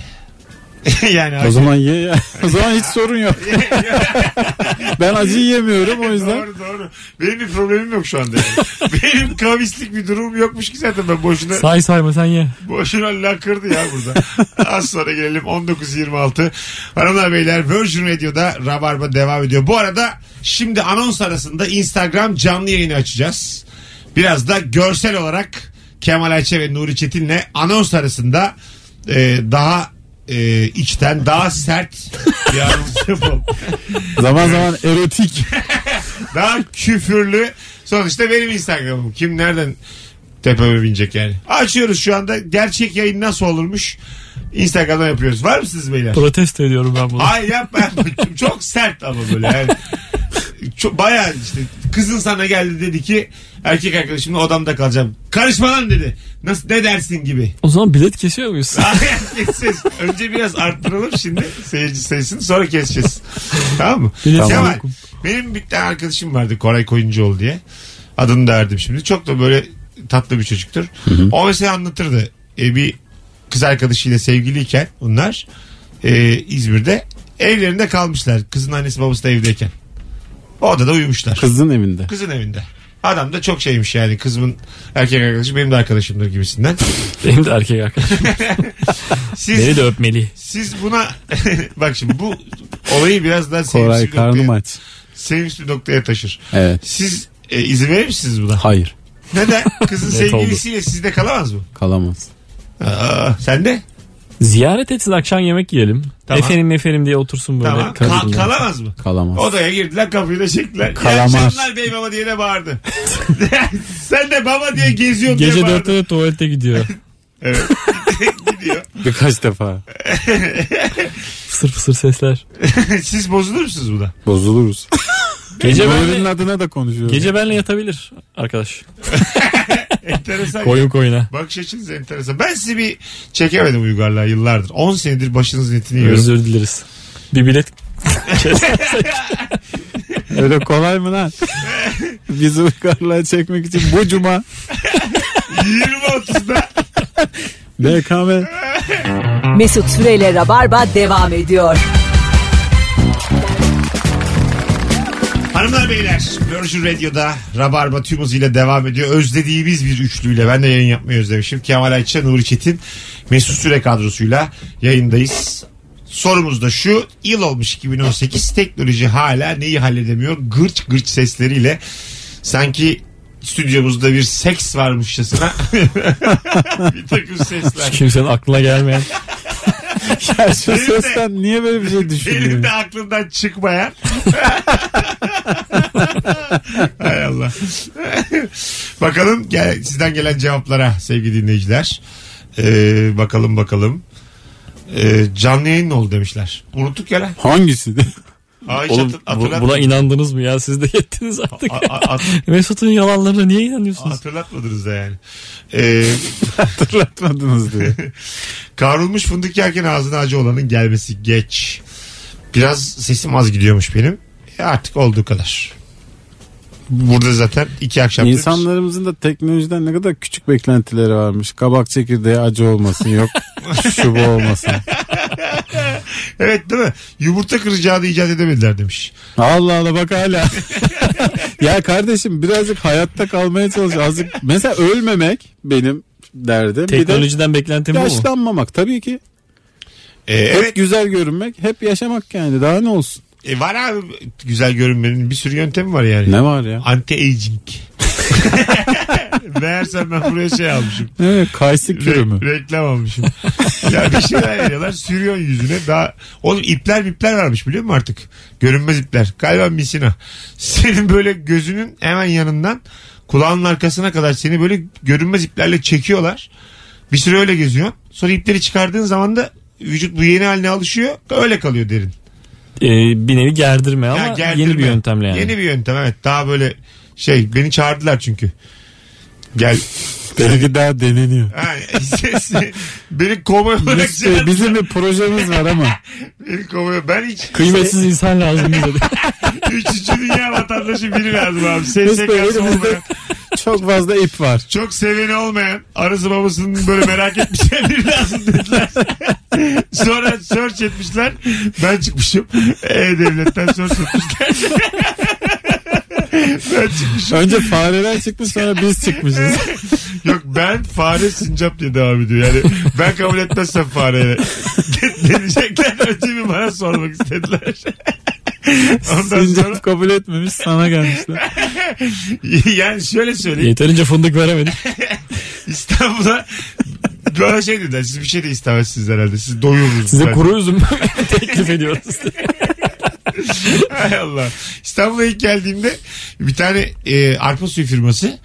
[SPEAKER 2] yani acı.
[SPEAKER 3] O zaman ye ya. O zaman hiç sorun yok. ben acıyı yemiyorum o yüzden.
[SPEAKER 2] Doğru doğru. Benim bir problemim yok şu anda. Yani. Benim kavislik bir durumum yokmuş ki zaten ben boşuna
[SPEAKER 4] Say sayma sen ye.
[SPEAKER 2] Boşuna lakırdı ya burada. Az sonra gelelim 19.26. Hanımlar beyler Virgin Radio'da Rabarba devam ediyor. Bu arada şimdi anons arasında Instagram canlı yayını açacağız. Biraz da görsel olarak Kemal Ayçe ve Nuri Çetin'le anons arasında e, daha e, içten daha sert bir anons yapalım.
[SPEAKER 3] Zaman zaman erotik.
[SPEAKER 2] Daha küfürlü. Sonuçta benim Instagram'ım. Kim nereden tepeme binecek yani. Açıyoruz şu anda. Gerçek yayın nasıl olurmuş? Instagram'dan yapıyoruz. Var mısınız beyler?
[SPEAKER 4] Protesto ediyorum ben bunu.
[SPEAKER 2] Ay yapma yapma. Çok sert ama böyle yani. Çok, bayağı işte kızın sana geldi dedi ki erkek arkadaşımla odamda kalacağım. Karışma lan dedi. Nasıl ne dersin gibi.
[SPEAKER 4] O zaman bilet kesiyor muyuz?
[SPEAKER 2] Keseceğiz. Önce biraz arttıralım şimdi seyirci sayısını sonra keseceğiz. tamam mı?
[SPEAKER 4] Bilet
[SPEAKER 2] Kemal,
[SPEAKER 4] yok.
[SPEAKER 2] benim bir tane arkadaşım vardı Koray Koyuncuoğlu diye. Adını da verdim şimdi. Çok da böyle tatlı bir çocuktur. O mesela anlatırdı. E, bir kız arkadaşıyla sevgiliyken bunlar e, İzmir'de evlerinde kalmışlar. Kızın annesi babası da evdeyken. O odada uyumuşlar.
[SPEAKER 3] Kızın evinde.
[SPEAKER 2] Kızın evinde. Adam da çok şeymiş yani kızımın erkek arkadaşı benim de arkadaşımdır gibisinden.
[SPEAKER 4] Benim de erkek arkadaşım.
[SPEAKER 2] Siz
[SPEAKER 4] Beni de öpmeli.
[SPEAKER 2] Siz buna bak şimdi bu olayı biraz daha
[SPEAKER 3] Koray
[SPEAKER 2] sevimsiz bir,
[SPEAKER 3] karnım
[SPEAKER 2] noktaya,
[SPEAKER 3] aç.
[SPEAKER 2] sevimsiz bir noktaya taşır.
[SPEAKER 3] Evet.
[SPEAKER 2] Siz e, izin verir misiniz buna?
[SPEAKER 3] Hayır.
[SPEAKER 2] Neden? Kızın
[SPEAKER 4] Net oldu.
[SPEAKER 2] sevgilisiyle sizde kalamaz mı?
[SPEAKER 3] Kalamaz.
[SPEAKER 2] Aa, sen de?
[SPEAKER 4] Ziyaret etsin akşam yemek yiyelim.
[SPEAKER 2] Tamam.
[SPEAKER 4] Efendim efendim diye otursun böyle.
[SPEAKER 2] Tamam.
[SPEAKER 4] karı
[SPEAKER 2] Ka-
[SPEAKER 4] kızla.
[SPEAKER 2] kalamaz mı?
[SPEAKER 3] Kalamaz.
[SPEAKER 2] Odaya girdiler kapıyı da çektiler.
[SPEAKER 3] Kalamaz.
[SPEAKER 2] İyi akşamlar bey baba diye de bağırdı. sen de baba diye geziyorsun diye
[SPEAKER 4] Gece
[SPEAKER 2] bağırdı.
[SPEAKER 4] dörtte de tuvalete gidiyor.
[SPEAKER 2] Evet. Gidiyor.
[SPEAKER 3] Birkaç defa.
[SPEAKER 4] Fısır fısır sesler.
[SPEAKER 2] Siz bozulur musunuz buna?
[SPEAKER 3] Bozuluruz.
[SPEAKER 4] Gece
[SPEAKER 3] Nuri'nin
[SPEAKER 4] benle,
[SPEAKER 3] adına da konuşuyoruz.
[SPEAKER 4] gece benle yatabilir arkadaş.
[SPEAKER 2] Enteresan.
[SPEAKER 4] Koyun koyuna.
[SPEAKER 2] Bakış açınız enteresan. Ben sizi bir çekemedim uygarlığa yıllardır. 10 senedir başınızın etini yiyorum.
[SPEAKER 4] Özür dileriz. Bir bilet
[SPEAKER 3] Öyle kolay mı lan? Bizi uygarlığa çekmek için bu cuma
[SPEAKER 2] 20.30'da
[SPEAKER 3] BKM
[SPEAKER 1] Mesut Süreyle Rabarba devam ediyor.
[SPEAKER 2] hanımlar beyler Virgin Radio'da Rabarba tüm hızıyla devam ediyor. Özlediğimiz bir üçlüyle ben de yayın yapmayı özlemişim. Kemal Ayça, Nuri Çetin, Mesut Süre kadrosuyla yayındayız. Sorumuz da şu yıl olmuş 2018 teknoloji hala neyi halledemiyor gırç gırç sesleriyle sanki stüdyomuzda bir seks varmışçasına bir takım sesler.
[SPEAKER 4] kimsenin aklına gelmeyen.
[SPEAKER 3] Ya şu
[SPEAKER 2] Benim de-
[SPEAKER 3] sesten niye böyle bir şey
[SPEAKER 2] Benim
[SPEAKER 3] düşünüyorsun?
[SPEAKER 2] de aklımdan çıkmayan. Hay Allah. bakalım gel, sizden gelen cevaplara sevgili dinleyiciler. Ee, bakalım bakalım. Ee, canlı yayın ne oldu demişler. Unuttuk ya lan.
[SPEAKER 3] Hangisi?
[SPEAKER 2] Aa, hiç
[SPEAKER 4] Oğlum
[SPEAKER 2] hatır-
[SPEAKER 4] bu-
[SPEAKER 2] hatırlat-
[SPEAKER 4] buna inandınız mı ya? Siz de yettiniz artık.
[SPEAKER 2] A- a- hat-
[SPEAKER 4] Mesut'un yalanlarına niye inanıyorsunuz?
[SPEAKER 2] hatırlatmadınız da yani. Ee,
[SPEAKER 3] Hatırlatmadınız diye.
[SPEAKER 2] kavrulmuş fındık yerken ağzına acı olanın gelmesi geç. Biraz sesim az gidiyormuş benim. E, artık olduğu kadar. Burada zaten iki akşam
[SPEAKER 3] İnsanlarımızın da teknolojiden ne kadar küçük beklentileri varmış. Kabak çekirdeği acı olmasın yok. Şu bu olmasın.
[SPEAKER 2] Evet değil mi? Yumurta kıracağını icat edemediler demiş.
[SPEAKER 3] Allah Allah bak hala. ya kardeşim birazcık hayatta kalmaya çalış. Azıcık mesela ölmemek benim derdim.
[SPEAKER 4] Teknolojiden beklentim
[SPEAKER 3] bir
[SPEAKER 4] bu
[SPEAKER 3] de
[SPEAKER 4] mu?
[SPEAKER 3] yaşlanmamak tabii ki.
[SPEAKER 2] Ee,
[SPEAKER 3] Hep
[SPEAKER 2] evet
[SPEAKER 3] güzel görünmek, hep yaşamak yani daha ne olsun?
[SPEAKER 2] e, var abi güzel görünmenin bir sürü yöntemi var yani.
[SPEAKER 3] Ne var ya?
[SPEAKER 2] Anti-aging. Meğersem ben buraya şey almışım.
[SPEAKER 3] Evet, kayısı kürü mü?
[SPEAKER 2] Re- reklam almışım. ya bir şeyler veriyorlar sürüyorsun yüzüne. Daha... Oğlum ipler ipler varmış biliyor musun artık? Görünmez ipler. Galiba misina. Senin böyle gözünün hemen yanından kulağının arkasına kadar seni böyle görünmez iplerle çekiyorlar. Bir süre öyle geziyorsun. Sonra ipleri çıkardığın zaman da vücut bu yeni haline alışıyor. Öyle kalıyor derin.
[SPEAKER 4] Ee, bir nevi gerdirme ama
[SPEAKER 2] Ya gerdirme.
[SPEAKER 4] yeni bir yöntemle yani.
[SPEAKER 2] Yeni bir yöntem evet. Daha böyle şey beni çağırdılar çünkü. Gel.
[SPEAKER 3] Belki daha deneniyor.
[SPEAKER 2] Ha, ses, beni koma olarak
[SPEAKER 3] Biz- bizim bir projemiz var ama
[SPEAKER 2] beni koma Ben hiç
[SPEAKER 4] Kıymetsiz
[SPEAKER 3] şey.
[SPEAKER 4] insan lazım bize de.
[SPEAKER 2] üçüncü dünya vatandaşı biri lazım abi.
[SPEAKER 3] Biz
[SPEAKER 2] SSK'sı
[SPEAKER 3] böyle
[SPEAKER 2] olmayan.
[SPEAKER 3] çok fazla ip var.
[SPEAKER 2] Çok seveni olmayan. Arası babasının böyle merak etmişler biri lazım dediler. Sonra search etmişler. Ben çıkmışım. E-Devlet'ten search etmişler. ben çıkmışım.
[SPEAKER 3] Önce fareler çıkmış sonra biz çıkmışız.
[SPEAKER 2] Yok ben fare sincap diye devam ediyor. Yani ben kabul etmezsem fareye deneyecekler. Önce bir bana sormak istediler. Ondan sonra
[SPEAKER 3] Sincap kabul etmemiş sana gelmişler.
[SPEAKER 2] yani şöyle söyleyeyim.
[SPEAKER 4] Yeterince fındık veremedik.
[SPEAKER 2] İstanbul'a bana şey dediler. Siz bir şey de istemezsiniz herhalde. Siz doyururuz.
[SPEAKER 4] Size
[SPEAKER 2] ben.
[SPEAKER 4] kuru üzüm teklif ediyoruz.
[SPEAKER 2] Hay Allah. İstanbul'a ilk geldiğimde bir tane e, arpa suyu firması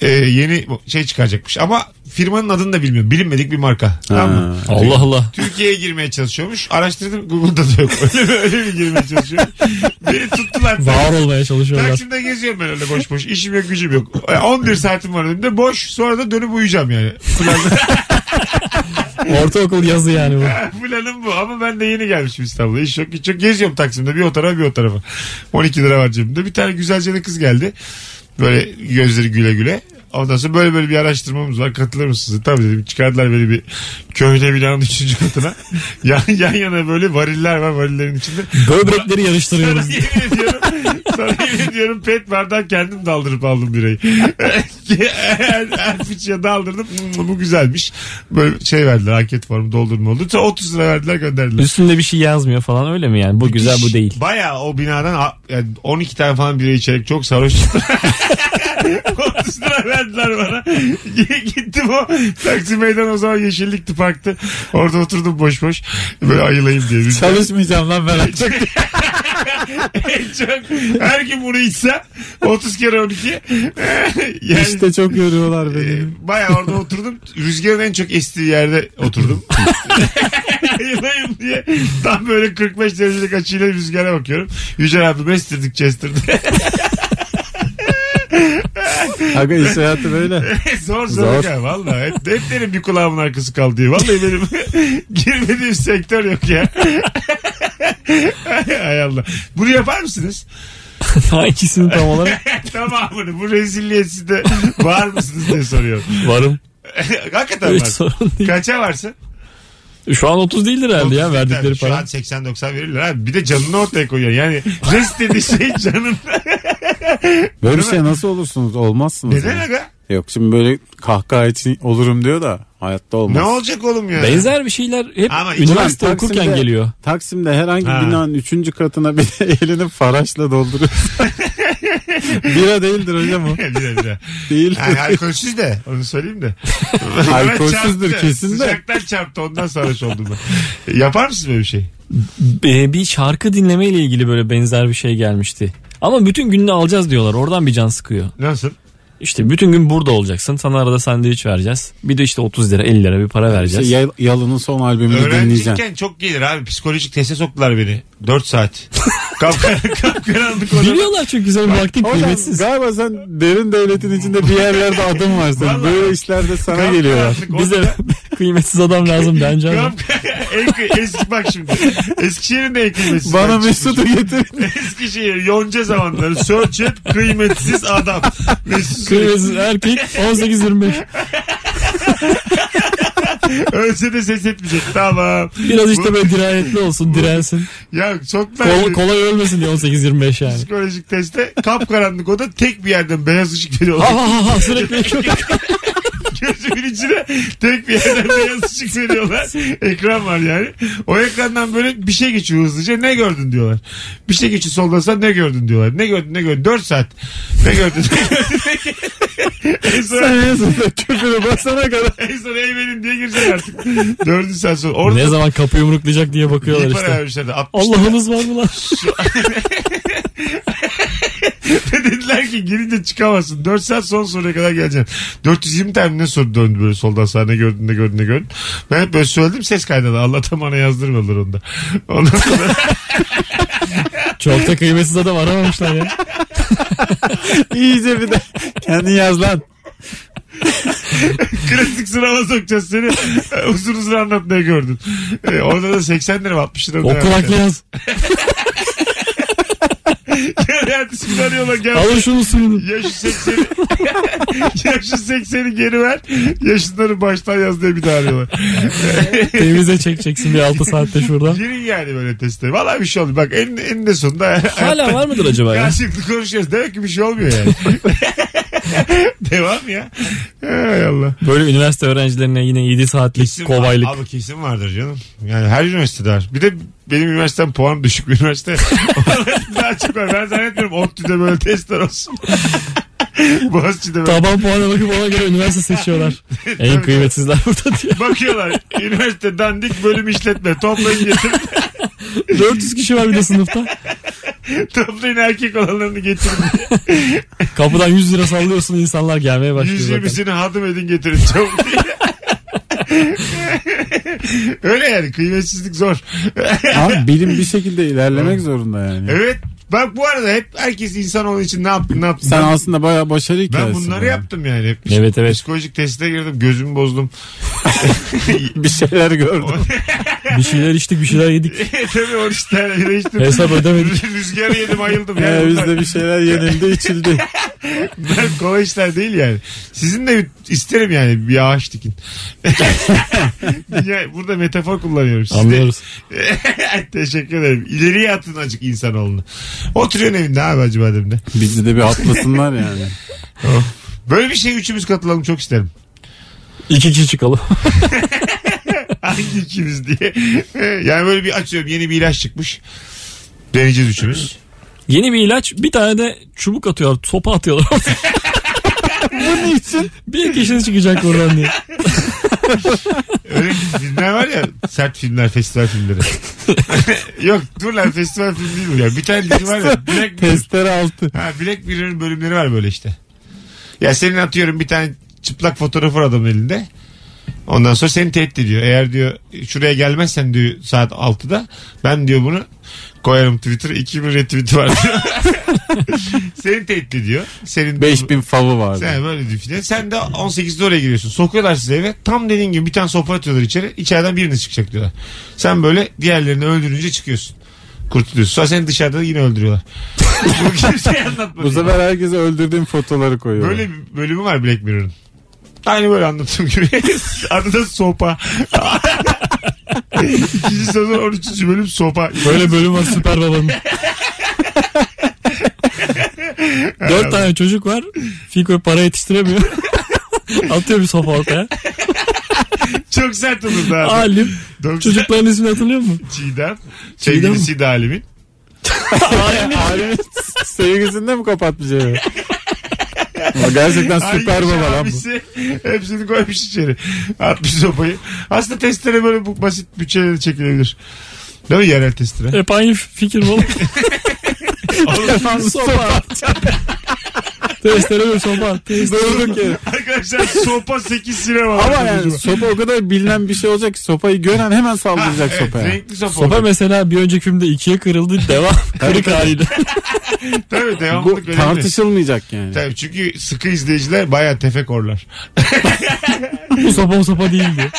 [SPEAKER 2] e, yeni şey çıkaracakmış. Ama firmanın adını da bilmiyorum. Bilinmedik bir marka. Tamam mı?
[SPEAKER 4] Allah Allah.
[SPEAKER 2] Türkiye'ye girmeye çalışıyormuş. Araştırdım Google'da da yok. Öyle mi, öyle mi girmeye çalışıyor? Beni tuttular.
[SPEAKER 4] Var olmaya çalışıyorlar.
[SPEAKER 2] Taksim'de geziyorum ben öyle boş boş. İşim yok gücüm yok. E, 11 saatim var önümde boş. Sonra da dönüp uyuyacağım yani.
[SPEAKER 4] Ortaokul yazı yani bu.
[SPEAKER 2] Planım bu ama ben de yeni gelmişim İstanbul'a. İş yok hiç yok. Geziyorum Taksim'de bir o tarafa bir o tarafa. 12 lira var cebimde. Bir tane güzelce de kız geldi. Böyle gözleri güle güle. Ondan sonra böyle böyle bir araştırmamız var. Katılır mısınız? Tabii dedim. Çıkardılar beni bir köhne binanın üçüncü katına. yan, yan yana böyle variller var varillerin içinde.
[SPEAKER 4] Böbrekleri yarıştırıyoruz.
[SPEAKER 2] Sana yemin ediyorum. sana yemin ediyorum pet bardağı kendim daldırıp aldım birayı. Her- her fıçıya daldırdım. Hmm, Bu güzelmiş. Böyle şey verdiler anket formu doldurma oldu. Sonra 30 lira verdiler gönderdiler.
[SPEAKER 4] Üstünde bir şey yazmıyor falan öyle mi yani? Bu güzel bu değil.
[SPEAKER 2] Baya o binadan a- yani 12 tane falan bira içerek çok sarhoş çıktım. 30 lira verdiler bana. Gittim o Taksim Meydan o zaman yeşillikti parktı. Orada oturdum boş boş. Böyle ayılayım diye. Biz-
[SPEAKER 3] Çalışmayacağım lan ben artık.
[SPEAKER 2] En çok her gün bunu içsem 30 kere 12. yani,
[SPEAKER 3] İşte çok yoruyorlar beni.
[SPEAKER 2] e, bayağı orada oturdum. Rüzgarın en çok estiği yerde oturdum. Yılayım diye tam böyle 45 derecelik açıyla rüzgara bakıyorum. Yücel abi estirdik Chester'da. Ee,
[SPEAKER 3] Aga iş hayatı böyle.
[SPEAKER 2] Zor
[SPEAKER 3] Zor.
[SPEAKER 2] zor. ya Valla hep, hep derim bir kulağımın arkası kaldı diye. Vallahi benim girmediğim sektör yok ya. Hay Allah. Bunu yapar mısınız?
[SPEAKER 4] Daha ikisini tam olarak
[SPEAKER 2] Tamamını bu rezilliğe siz de var mısınız diye soruyorum.
[SPEAKER 4] varım.
[SPEAKER 2] Hakikaten
[SPEAKER 4] Hiç
[SPEAKER 2] var.
[SPEAKER 4] sorun değil.
[SPEAKER 2] Kaça varsın?
[SPEAKER 4] Şu an 30 değildir herhalde ya
[SPEAKER 2] 30
[SPEAKER 4] verdikleri
[SPEAKER 2] biter. Şu an
[SPEAKER 4] para.
[SPEAKER 2] 80-90 verirler abi. Bir de canını ortaya koyuyor. Yani rest dediği şey canın.
[SPEAKER 3] Böyle bir şey nasıl olursunuz? Olmazsınız.
[SPEAKER 2] Neden
[SPEAKER 3] yani.
[SPEAKER 2] aga?
[SPEAKER 3] Yok şimdi böyle kahkaha için olurum diyor da hayatta olmaz.
[SPEAKER 2] Ne olacak oğlum ya?
[SPEAKER 4] Benzer bir şeyler hep
[SPEAKER 2] Ama
[SPEAKER 4] üniversite
[SPEAKER 3] Ulan
[SPEAKER 4] okurken
[SPEAKER 3] Taksim'de-
[SPEAKER 4] geliyor.
[SPEAKER 3] Taksim'de herhangi
[SPEAKER 2] Ha.
[SPEAKER 3] binanın üçüncü katına bir de elini faraşla dolduruyorsun. Bira değildir hocam o.
[SPEAKER 2] bir de, bir de.
[SPEAKER 3] Değil.
[SPEAKER 2] Yani alkolsüz de onu söyleyeyim de.
[SPEAKER 3] Alkolsüzdür
[SPEAKER 2] Çarptı.
[SPEAKER 3] kesin de.
[SPEAKER 2] Sıcaktan çarptı ondan sarhoş oldum ben. Yapar mısın böyle bir şey?
[SPEAKER 4] Ee, bir şarkı dinlemeyle ilgili böyle benzer bir şey gelmişti. Ama bütün gününü alacağız diyorlar. Oradan bir can sıkıyor.
[SPEAKER 2] Nasıl?
[SPEAKER 4] İşte bütün gün burada olacaksın. Sana arada sandviç vereceğiz. Bir de işte 30 lira 50 lira bir para
[SPEAKER 3] İşte
[SPEAKER 4] vereceğiz.
[SPEAKER 3] Yal- Yalın'ın son albümünü dinleyeceğim.
[SPEAKER 2] Öğrenciyken çok gelir abi. Psikolojik teste soktular beni. 4 saat. Kapkar- Kapkaranlık odada.
[SPEAKER 4] Biliyorlar çünkü senin vaktin
[SPEAKER 3] Hocam
[SPEAKER 4] kıymetsiz.
[SPEAKER 3] galiba sen derin devletin içinde bir yerlerde adım var senin.
[SPEAKER 2] Vallahi.
[SPEAKER 3] Böyle işlerde sana
[SPEAKER 2] Kapkaranlık
[SPEAKER 3] geliyorlar.
[SPEAKER 2] odada-
[SPEAKER 4] Bize kıymetsiz adam lazım bence ama.
[SPEAKER 2] Kapkar- en kıy- Eski bak şimdi. Eskişehir'in de en kıymetsiz.
[SPEAKER 3] Bana
[SPEAKER 2] bak.
[SPEAKER 3] Mesut'u getirin.
[SPEAKER 2] Eskişehir yonca zamanları search et kıymetsiz adam. Mesut Süre.
[SPEAKER 4] Kıymetsiz erkek 18-25.
[SPEAKER 2] Ölse de ses etmeyecek. Tamam.
[SPEAKER 4] Biraz işte böyle dirayetli olsun dirensin.
[SPEAKER 2] Ya çok
[SPEAKER 4] Kol,
[SPEAKER 2] ben
[SPEAKER 4] kolay ölmesin diye 18-25 yani.
[SPEAKER 2] psikolojik testte kapkaranlık oda tek bir yerden beyaz ışık veriyor.
[SPEAKER 4] Ha ha ha sürekli
[SPEAKER 2] Gözümün içine tek bir yerden beyaz ışık veriyorlar. Ekran var yani. O ekrandan böyle bir şey geçiyor hızlıca. Ne gördün diyorlar. Bir şey geçiyor soldasa ne gördün diyorlar. Ne gördün ne gördün. 4 saat. Ne gördün ne gördün. en son,
[SPEAKER 3] Sen Mesut'la köpürü basana kadar.
[SPEAKER 2] en son eyvenin diye girecek artık. 4. saat sonra. Orada
[SPEAKER 4] ne zaman kapı yumruklayacak diye bakıyorlar
[SPEAKER 2] İyi para
[SPEAKER 4] işte.
[SPEAKER 2] vermişler de. 60 lira.
[SPEAKER 4] Allah'ınız var mı lan?
[SPEAKER 2] Dediler ki girince çıkamazsın. 4 saat son soruya kadar geleceksin. 420 tane ne soru döndü böyle soldan sağa ne gördün ne gördün ne gördün. Ben hep böyle söyledim ses kaydına. Allah'tan bana yazdırmadılar onda. Ondan sonra
[SPEAKER 4] Çok da kıymetsiz adam aramamışlar ya.
[SPEAKER 3] İyice bir de kendin yaz lan.
[SPEAKER 2] klasik sınava sokacağız seni. uzun uzun anlat ne gördün. Ee, orada da 80 lira mı, 60 lira. mı ne
[SPEAKER 4] Okul haklı
[SPEAKER 2] yapacak?
[SPEAKER 4] yaz.
[SPEAKER 2] Yani ertesi gün arıyorlar gel.
[SPEAKER 4] Alın şunu suyunu.
[SPEAKER 2] Yaşı 80'i Yaşı 80'i geri ver. Yaşınları baştan yaz diye bir daha arıyorlar.
[SPEAKER 4] Temize çekeceksin bir 6 saatte şuradan.
[SPEAKER 2] Girin yani böyle teste. Valla bir şey oldu. Bak en, eninde sonunda
[SPEAKER 4] Hala var mıdır acaba ya?
[SPEAKER 2] Karşılıklı konuşuyoruz. Demek ki bir şey olmuyor yani. Devam ya. Hay Allah.
[SPEAKER 4] Böyle üniversite öğrencilerine yine 7 saatlik kolaylık.
[SPEAKER 2] Abi kesin vardır canım. Yani her üniversitede var. Bir de benim üniversitem puan düşük bir üniversite. Oralarda daha çok var. Ben zannetmiyorum ODTÜ'de böyle testler olsun. Boğaziçi'de böyle.
[SPEAKER 4] Taban puana bakıp ona göre üniversite seçiyorlar. en kıymetsizler burada diye.
[SPEAKER 2] Bakıyorlar. Üniversite dandik bölüm işletme. Toplayın getirin.
[SPEAKER 4] 400 kişi var bir de sınıfta.
[SPEAKER 2] Toplayın erkek olanlarını getirin.
[SPEAKER 4] Kapıdan 100 lira sallıyorsun insanlar gelmeye başlıyor. zaten.
[SPEAKER 2] 120'sini hadım edin getirin çabuk diye. Öyle yani kıymetsizlik zor.
[SPEAKER 3] Abi bilim bir şekilde ilerlemek zorunda yani.
[SPEAKER 2] Evet. Bak bu arada hep herkes insan olduğu için ne yaptı ne yaptı.
[SPEAKER 3] Sen
[SPEAKER 2] ben,
[SPEAKER 3] aslında bayağı başarı hikayesi.
[SPEAKER 2] ben bunları yaptım yani. Hep
[SPEAKER 4] Evet, evet.
[SPEAKER 2] Psikolojik teste girdim gözümü bozdum.
[SPEAKER 3] Bir şey. şeyler gördüm.
[SPEAKER 4] Bir şeyler içtik bir şeyler yedik.
[SPEAKER 2] E, Tabii 13 tane bira içtim.
[SPEAKER 4] Hesap ödemedik.
[SPEAKER 2] Rüzgarı yedim ayıldım.
[SPEAKER 3] Yani
[SPEAKER 2] Yani bunlar,
[SPEAKER 3] Ee, bizde bir şeyler yenildi içildi.
[SPEAKER 2] bunlar kolay işler değil yani. Sizin de isterim yani bir ağaç dikin. ya, burada metafor kullanıyorum. Siz de-
[SPEAKER 4] Anlıyoruz.
[SPEAKER 2] Teşekkür ederim. İleriye atın acık insanoğlunu. Oturuyorsun evinde abi acaba demde.
[SPEAKER 3] Bizi de bir atlasınlar yani.
[SPEAKER 2] Böyle bir şey üçümüz katılalım çok isterim.
[SPEAKER 4] İki kişi çıkalım.
[SPEAKER 2] Hangi ikimiz diye. yani böyle bir açıyorum yeni bir ilaç çıkmış. Deneyeceğiz üçümüz.
[SPEAKER 4] Yeni bir ilaç bir tane de çubuk atıyorlar. Sopa atıyorlar.
[SPEAKER 3] Bunun için
[SPEAKER 4] bir kişi çıkacak oradan diye.
[SPEAKER 2] Öyle filmler var ya sert filmler festival filmleri. Yok dur lan festival filmi değil bu ya. Bir tane dizi var ya Black Mirror.
[SPEAKER 3] testere altı.
[SPEAKER 2] Ha, Black Mirror'ın bölümleri var böyle işte. Ya senin atıyorum bir tane çıplak fotoğrafı var adamın elinde. Ondan sonra seni tehdit ediyor. Eğer diyor şuraya gelmezsen diyor saat 6'da ben diyor bunu koyarım Twitter'a 2000 retweet var diyor. seni tehdit ediyor. Senin
[SPEAKER 3] 5000 favı vardı.
[SPEAKER 2] Sen böyle diyor filan. Sen de 18'de oraya giriyorsun. Sokuyorlar sizi eve. Tam dediğin gibi bir tane sopa atıyorlar içeri. İçeriden biriniz çıkacak diyorlar. Sen böyle diğerlerini öldürünce çıkıyorsun. Kurtuluyorsun. Sonra seni dışarıda yine öldürüyorlar. Bu kimseye anlatma.
[SPEAKER 3] Bu sefer herkese öldürdüğüm fotoları koyuyorum.
[SPEAKER 2] Böyle bir bölümü var Black Mirror'ın. Aynı böyle anlattığım gibi. Adı da Sopa. İkinci sezon 13. bölüm Sopa.
[SPEAKER 4] Böyle bölüm var süper babanın. Dört tane çocuk var. Fiko para yetiştiremiyor. Atıyor bir sopa ortaya.
[SPEAKER 2] Çok sert olur da.
[SPEAKER 4] Alim.
[SPEAKER 2] Çocuk.
[SPEAKER 4] Çocukların ismini hatırlıyor musun?
[SPEAKER 2] Çiğdem. Sevgilisi de Alim'in.
[SPEAKER 3] Alim- Alim'in sevgisini de mi kapatmış evi? Ama gerçekten süper
[SPEAKER 2] Ayrıca
[SPEAKER 3] baba lan bu.
[SPEAKER 2] abisi Hepsini koymuş içeri. Atmış sopayı. Aslında testere böyle bu basit bütçeleri çekilebilir. Değil mi yerel testere?
[SPEAKER 4] Hep aynı fikir mi olur?
[SPEAKER 3] Sopa.
[SPEAKER 4] Testere bir sopa. Testere
[SPEAKER 3] Durduk yere.
[SPEAKER 2] arkadaşlar sopa 8 sinema. var
[SPEAKER 3] Ama yani
[SPEAKER 2] çocuğuma.
[SPEAKER 3] sopa o kadar bilinen bir şey olacak ki sopayı gören hemen
[SPEAKER 2] Ha, evet,
[SPEAKER 3] saldıracak sopaya.
[SPEAKER 2] Renkli sopa.
[SPEAKER 4] Sopa
[SPEAKER 2] olacak.
[SPEAKER 4] mesela bir önceki filmde ikiye kırıldı devam kırık haliyle.
[SPEAKER 2] Tabii
[SPEAKER 3] Bu
[SPEAKER 2] devamlılık önemli.
[SPEAKER 3] tartışılmayacak yani.
[SPEAKER 2] Tabii çünkü sıkı izleyiciler bayağı tefekorlar.
[SPEAKER 4] Bu sopa o sopa değildi.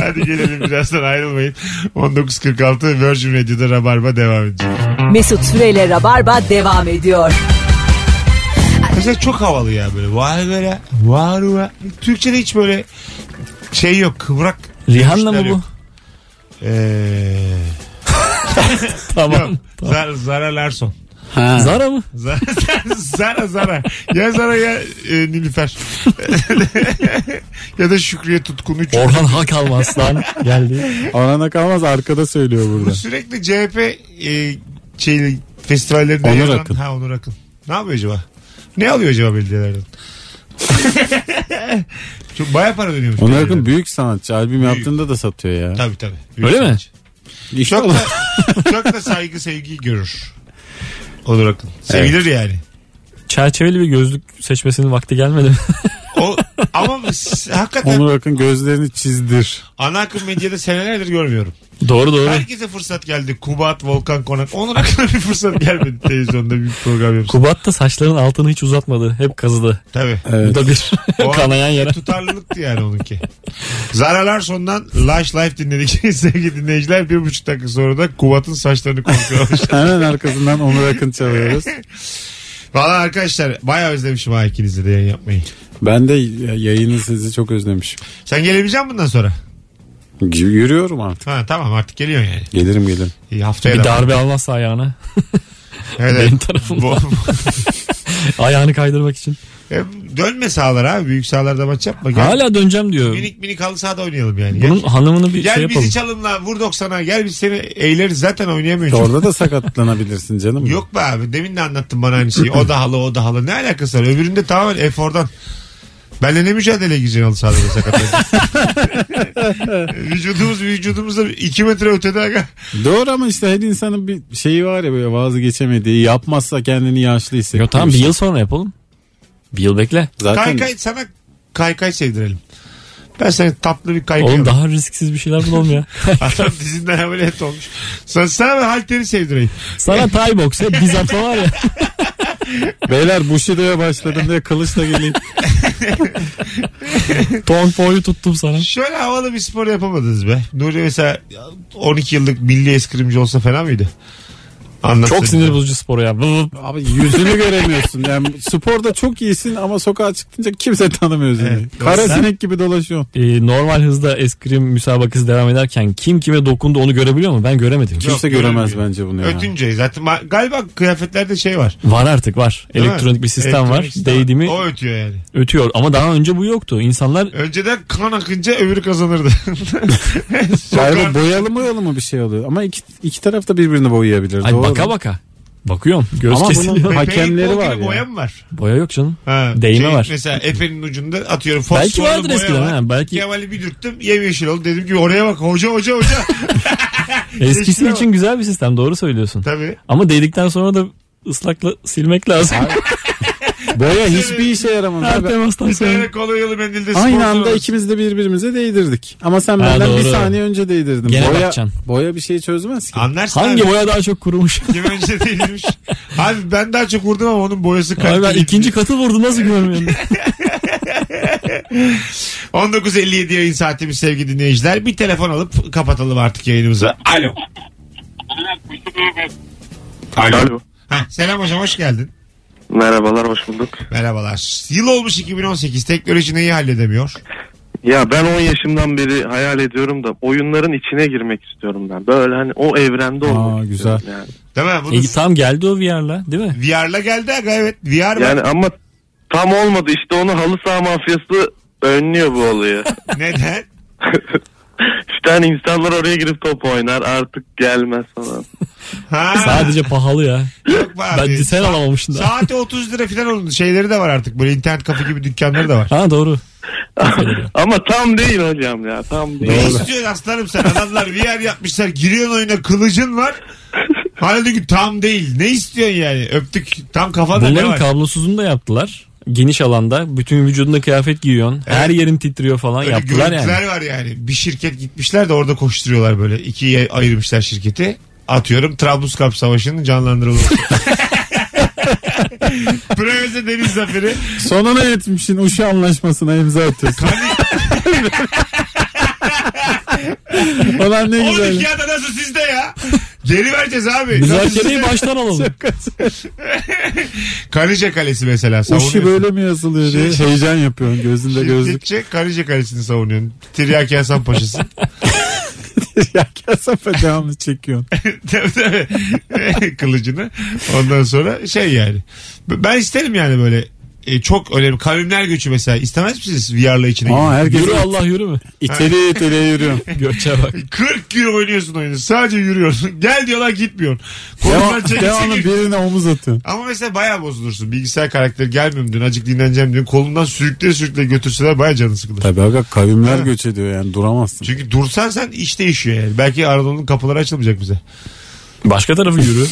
[SPEAKER 2] Hadi gelelim birazdan ayrılmayın. 19.46 Virgin Radio'da Rabarba devam edecek.
[SPEAKER 1] Mesut Süreyle Rabarba devam ediyor.
[SPEAKER 2] Mesela çok havalı ya böyle. Vay böyle. Var var. Türkçe'de hiç böyle şey yok kıvrak.
[SPEAKER 4] Rihanna
[SPEAKER 2] görüşler
[SPEAKER 4] mı bu?
[SPEAKER 2] yok. Ee, yok.
[SPEAKER 4] Tamam.
[SPEAKER 2] Zara, Zara Larson.
[SPEAKER 3] Ha.
[SPEAKER 4] Zara mı?
[SPEAKER 2] Zara, Zara Zara. Ya Zara ya e, Nilüfer. ya da Şükriye Tutkun. Üç.
[SPEAKER 4] Orhan Hakal Aslan geldi.
[SPEAKER 3] Orana kalmaz arkada söylüyor
[SPEAKER 2] Bu
[SPEAKER 3] burada.
[SPEAKER 2] sürekli CHP e, şeyli, festivallerinde
[SPEAKER 3] Onur
[SPEAKER 2] yer alan-
[SPEAKER 3] Akın.
[SPEAKER 2] Ha Onur Akın. Ne yapıyor acaba? Ne alıyor acaba belediyelerden? Çok baya para dönüyormuş.
[SPEAKER 3] Ona
[SPEAKER 2] belediyelerden.
[SPEAKER 3] yakın büyük sanatçı. Albüm yaptığında da satıyor ya.
[SPEAKER 2] Tabii tabii.
[SPEAKER 4] Öyle mi?
[SPEAKER 2] sanatçı.
[SPEAKER 3] İşte
[SPEAKER 2] Çok
[SPEAKER 3] o-
[SPEAKER 2] da, çok da saygı sevgi görür. Onur Akın. Sevilir yani.
[SPEAKER 4] Çerçeveli bir gözlük seçmesinin vakti gelmedi mi?
[SPEAKER 2] O, ama s- hakikaten
[SPEAKER 3] Onur Akın gözlerini çizdir.
[SPEAKER 2] ana akım medyada senelerdir görmüyorum.
[SPEAKER 4] doğru doğru.
[SPEAKER 2] Herkese fırsat geldi. Kubat, Volkan Konak. Onur Akın'a bir fırsat gelmedi televizyonda bir program yapsın.
[SPEAKER 4] Kubat da saçların altını hiç uzatmadı. Hep kazıdı.
[SPEAKER 2] Tabii.
[SPEAKER 4] Bu
[SPEAKER 3] Evet.
[SPEAKER 4] da bir
[SPEAKER 2] O
[SPEAKER 4] kanayan yara.
[SPEAKER 2] tutarlılıktı yani onunki. Zara Larson'dan Lash Life dinledik. Sevgili dinleyiciler bir buçuk dakika sonra da Kubat'ın saçlarını konuşuyormuş.
[SPEAKER 3] Hemen arkasından Onur Akın çalıyoruz.
[SPEAKER 2] Valla arkadaşlar bayağı özlemişim ha ikinizi de yayın yapmayı.
[SPEAKER 3] Ben de yayını sizi çok özlemişim.
[SPEAKER 2] Sen gelebilecek misin bundan sonra?
[SPEAKER 3] Y- Yürüyorum artık.
[SPEAKER 2] Ha, tamam artık geliyorsun yani.
[SPEAKER 3] Gelirim gelirim.
[SPEAKER 2] İyi, haftaya
[SPEAKER 4] Bir
[SPEAKER 2] da-
[SPEAKER 4] darbe almazsa ayağına.
[SPEAKER 2] Evet,
[SPEAKER 4] benim
[SPEAKER 2] evet.
[SPEAKER 4] tarafımdan.
[SPEAKER 2] Bu- bu-
[SPEAKER 4] Ayağını kaydırmak için.
[SPEAKER 2] Hem dönme sahalar abi. Büyük sahalarda maç yapma. Gel.
[SPEAKER 4] Hala döneceğim diyor.
[SPEAKER 2] Minik minik halı sahada oynayalım yani. Gel,
[SPEAKER 4] Bunun hanımını bir
[SPEAKER 2] gel
[SPEAKER 4] şey
[SPEAKER 2] bizi
[SPEAKER 4] yapalım.
[SPEAKER 2] çalımla vur 90'a gel biz seni eğleriz zaten oynayamıyorsun.
[SPEAKER 3] Orada da sakatlanabilirsin canım.
[SPEAKER 2] Yok be abi demin de anlattın bana aynı şeyi. O da halı o da halı. Ne alakası var? Öbüründe tamamen efordan. Benle ne mücadeleye gireceksin halı sahada be sakat. Vücudumuz vücudumuzda 2 metre ötede. aga.
[SPEAKER 3] Doğru ama işte her insanın bir şeyi var ya böyle vazgeçemediği yapmazsa kendini yaşlı hissediyor.
[SPEAKER 4] Yo, tamam bir yıl sonra yapalım. Bir yıl bekle.
[SPEAKER 3] Zaten
[SPEAKER 2] Kaykay sana kaykay sevdirelim. Ben sana tatlı bir kaykay
[SPEAKER 4] Oğlum
[SPEAKER 2] alayım.
[SPEAKER 4] daha risksiz bir şeyler bulalım ya.
[SPEAKER 2] Adam dizinden ameliyat olmuş. Sana, sana ben halteri sevdireyim.
[SPEAKER 4] Sana Thai box hep biz atla var ya.
[SPEAKER 3] beyler Bushido'ya başladım diye kılıçla geleyim.
[SPEAKER 4] Tong Po'yu tuttum sana.
[SPEAKER 2] Şöyle havalı bir spor yapamadınız be. Nuri mesela 12 yıllık milli eskrimci olsa fena mıydı? Anlatsın.
[SPEAKER 4] Çok sinir bozucu sporu ya. Vıp.
[SPEAKER 3] Abi yüzünü göremiyorsun. Yani sporda çok iyisin ama sokağa çıktınca kimse tanımıyor seni.
[SPEAKER 2] Evet.
[SPEAKER 3] Kara
[SPEAKER 2] Sen-
[SPEAKER 3] sinek gibi dolaşıyorsun.
[SPEAKER 4] Ee, normal hızda eskrim müsabakası devam ederken kim kime dokundu onu görebiliyor mu? Ben göremedim.
[SPEAKER 2] Yok,
[SPEAKER 3] Kimse göremez
[SPEAKER 2] göremiyor.
[SPEAKER 3] bence bunu ya.
[SPEAKER 2] Ötünce zaten ma- galiba kıyafetlerde şey var.
[SPEAKER 4] Var artık var.
[SPEAKER 2] Değil mi?
[SPEAKER 4] Elektronik bir sistem
[SPEAKER 2] Elektronik
[SPEAKER 4] var.
[SPEAKER 2] sistem.
[SPEAKER 4] Değdi mi
[SPEAKER 2] O ötüyor yani.
[SPEAKER 4] ötüyor. Ama daha önce bu yoktu. İnsanlar
[SPEAKER 2] Önceden kan akınca öbürü kazanırdı.
[SPEAKER 3] Galiba
[SPEAKER 2] Sokar-
[SPEAKER 3] boyalı boyalı mı bir şey oluyor. Ama iki, iki taraf da birbirini boyayabilir.
[SPEAKER 4] ay
[SPEAKER 3] doğru.
[SPEAKER 4] baka baka. Bakıyorum. Göz
[SPEAKER 3] Ama
[SPEAKER 4] kesiliyor.
[SPEAKER 3] bunun-
[SPEAKER 2] Pe-
[SPEAKER 3] hakemleri
[SPEAKER 2] paintball
[SPEAKER 3] var
[SPEAKER 2] gibi
[SPEAKER 3] ya.
[SPEAKER 2] Boya mı var?
[SPEAKER 4] Boya yok canım.
[SPEAKER 2] Ha, Şey,
[SPEAKER 4] Değme var.
[SPEAKER 2] Mesela efenin ucunda atıyorum fosforlu
[SPEAKER 4] Belki vardır
[SPEAKER 2] boya
[SPEAKER 4] eskiden.
[SPEAKER 2] var.
[SPEAKER 4] Ha. Belki
[SPEAKER 2] Kemal'i bir dürttüm yemyeşil oldu. Dedim ki oraya bak hoca hoca hoca.
[SPEAKER 4] eskisi
[SPEAKER 2] Eskiden
[SPEAKER 4] için güzel bir sistem. Doğru söylüyorsun.
[SPEAKER 2] Tabii.
[SPEAKER 4] Ama değdikten sonra da ıslakla silmek lazım.
[SPEAKER 3] Boya hiçbir işe yaramaz.
[SPEAKER 4] Her
[SPEAKER 3] Abi.
[SPEAKER 4] temastan
[SPEAKER 2] Bir
[SPEAKER 4] sonra.
[SPEAKER 2] tane kolu yolu mendilde sponsor
[SPEAKER 3] Aynı anda
[SPEAKER 2] olursun.
[SPEAKER 3] ikimiz de birbirimize değdirdik. Ama sen
[SPEAKER 4] Ha,
[SPEAKER 3] benden bir
[SPEAKER 4] doğru.
[SPEAKER 3] saniye önce değdirdin.
[SPEAKER 4] Gene
[SPEAKER 3] boya,
[SPEAKER 4] bakacaksın.
[SPEAKER 3] boya bir şey çözmez ki.
[SPEAKER 2] Anlarsın
[SPEAKER 4] Hangi
[SPEAKER 2] abi.
[SPEAKER 4] boya daha çok kurumuş?
[SPEAKER 2] Kim önce değilmiş. Abi ben daha çok vurdum ama onun boyası
[SPEAKER 4] Abi ben
[SPEAKER 2] kalktı.
[SPEAKER 4] ikinci katı vurdum nasıl görmüyorum?
[SPEAKER 2] 19.57 yayın saatimiz sevgili dinleyiciler. Bir telefon alıp kapatalım artık yayınımızı. Alo. Alo.
[SPEAKER 5] Alo.
[SPEAKER 2] Ha, selam hocam hoş geldin.
[SPEAKER 5] Merhabalar hoş bulduk.
[SPEAKER 2] Merhabalar. Yıl olmuş 2018 teknoloji neyi halledemiyor?
[SPEAKER 5] Ya ben 10 yaşımdan beri hayal ediyorum da oyunların içine girmek istiyorum ben. Böyle hani o evrende
[SPEAKER 3] Aa,
[SPEAKER 5] olmak
[SPEAKER 3] güzel.
[SPEAKER 5] istiyorum yani.
[SPEAKER 2] Değil mi? Bunu
[SPEAKER 4] e, tam geldi o VR'la değil mi?
[SPEAKER 2] VR'la geldi aga evet. VR var.
[SPEAKER 5] Yani ama tam olmadı işte onu halı saha mafyası önlüyor bu olayı.
[SPEAKER 2] Neden?
[SPEAKER 5] işte hani insanlar oraya girip top oynar artık gelmez falan.
[SPEAKER 2] Ha.
[SPEAKER 4] Sadece pahalı ya.
[SPEAKER 2] Yok be abi.
[SPEAKER 4] Ben sen alamamışım da.
[SPEAKER 2] Saate 30 lira falan oldu. Şeyleri de var artık. Böyle internet kafe gibi dükkanları da var.
[SPEAKER 4] Ha doğru.
[SPEAKER 5] ama tam değil hocam ya tam değil.
[SPEAKER 2] Ne istiyorsun aslanım sen? Adamlar VR yapmışlar. Giriyorsun oyuna kılıcın var. Hala diyor ki tam değil. Ne istiyorsun yani? Öptük. Tam kafada ne
[SPEAKER 4] Bunların
[SPEAKER 2] var?
[SPEAKER 4] kablosuzunu da yaptılar. geniş alanda bütün vücudunda kıyafet giyiyorsun. Her yerin titriyor falan
[SPEAKER 2] Öyle
[SPEAKER 4] yaptılar yani.
[SPEAKER 2] görüntüler var yani. Bir şirket gitmişler de orada koşturuyorlar böyle. İkiye ayırmışlar şirketi. Atıyorum Trablusgarp Savaşı'nın canlandırılması. Prevese Deniz Zaferi.
[SPEAKER 3] Sonuna yetmişsin Uşu anlaşmasına imza atıyorsun. Ulan ne güzel.
[SPEAKER 2] 12 ada nasıl sizde ya? Geri vereceğiz abi. Nasıl
[SPEAKER 4] Müzakereyi
[SPEAKER 2] sizde?
[SPEAKER 4] baştan alalım.
[SPEAKER 2] Karice Kalesi mesela.
[SPEAKER 3] Uşu
[SPEAKER 2] savunuyorsun.
[SPEAKER 3] böyle mi yazılıyor diye
[SPEAKER 2] Şey-
[SPEAKER 3] heyecan yapıyorsun gözünde gözlük.
[SPEAKER 2] Şirketçe Karice Kalesi'ni savunuyorsun. Tiryaki Hasan Paşa'sı. şey-
[SPEAKER 3] ya kasafa devamlı çekiyorsun.
[SPEAKER 2] Tabii, tabii. Kılıcını. Ondan sonra şey yani. B- Ben isterim yani böyle e, çok önemli kavimler göçü mesela. İstemez misiniz VR'la içine?
[SPEAKER 3] Aa
[SPEAKER 2] girmek?
[SPEAKER 3] herkes
[SPEAKER 4] Yürü Allah yürü mü?
[SPEAKER 3] iteliye iteliye yürüyor.
[SPEAKER 4] Göçe bak.
[SPEAKER 2] 40 gün oynuyorsun oyunu. Sadece yürüyorsun. Gel diyorlar gitmiyorsun. Kolundan
[SPEAKER 3] Devam,
[SPEAKER 2] çekil
[SPEAKER 3] devamlı
[SPEAKER 2] çekil.
[SPEAKER 3] birine omuz atıyorsun.
[SPEAKER 2] Ama mesela bayağı bozulursun. Bilgisayar karakteri gelmiyorum dün. Acık dinleneceğim dün. Kolundan sürükle sürükle götürseler bayağı canın sıkılır.
[SPEAKER 3] Tabii aga kavimler göç ediyor yani duramazsın.
[SPEAKER 2] Çünkü dursan sen iş değişiyor yani. Belki Anadolu'nun kapıları açılmayacak bize.
[SPEAKER 4] Başka tarafı yürü.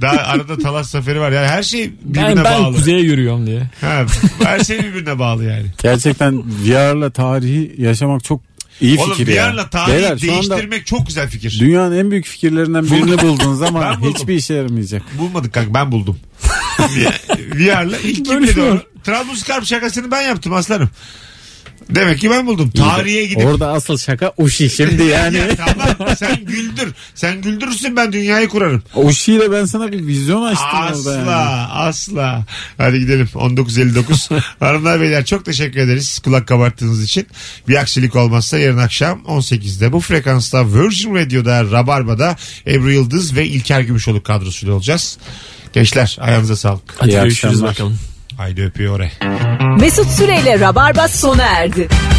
[SPEAKER 2] Daha arada Talas Zaferi var. Yani her şey birbirine
[SPEAKER 4] Yani ben
[SPEAKER 2] bağlı.
[SPEAKER 4] kuzeye yürüyorum diye.
[SPEAKER 2] Ha, her şey birbirine bağlı yani.
[SPEAKER 3] Gerçekten VR'la tarihi yaşamak çok iyi
[SPEAKER 2] Oğlum
[SPEAKER 3] fikir ya.
[SPEAKER 2] VR'la tarihi
[SPEAKER 3] Beyler, şu anda
[SPEAKER 2] değiştirmek çok güzel fikir.
[SPEAKER 3] Dünyanın en büyük fikirlerinden birini bulduğun zaman
[SPEAKER 2] Ben buldum.
[SPEAKER 3] hiçbir işe yaramayacak.
[SPEAKER 2] Bulmadık kanka ben buldum. VR'la ilk kim
[SPEAKER 4] Böyle
[SPEAKER 2] dedi
[SPEAKER 4] şey
[SPEAKER 2] onu?
[SPEAKER 4] var.
[SPEAKER 2] Trablusgarp şakasını ben yaptım aslanım. Demek ki ben buldum. Tarihe gidip.
[SPEAKER 3] Orada asıl şaka Uşi şimdi yani.
[SPEAKER 2] Ya tamam sen güldür. Sen güldürürsün ben dünyayı kurarım.
[SPEAKER 3] Uşi ile ben sana bir vizyon açtım
[SPEAKER 2] Asla
[SPEAKER 3] orada yani.
[SPEAKER 2] asla. Hadi gidelim 19.59. Hanımlar beyler çok teşekkür ederiz kulak kabarttığınız için. Bir aksilik olmazsa yarın akşam 18'de bu frekansta Virgin Radio'da Rabarba'da Ebru Yıldız ve İlker Gümüşoluk kadrosuyla olacağız. Gençler ayağınıza sağlık.
[SPEAKER 4] Hadi
[SPEAKER 3] İyi
[SPEAKER 4] görüşürüz
[SPEAKER 3] akşamlar.
[SPEAKER 4] bakalım.
[SPEAKER 2] Haydi öpüyor oraya.
[SPEAKER 1] Mesut Süreyle Rabarba sona erdi.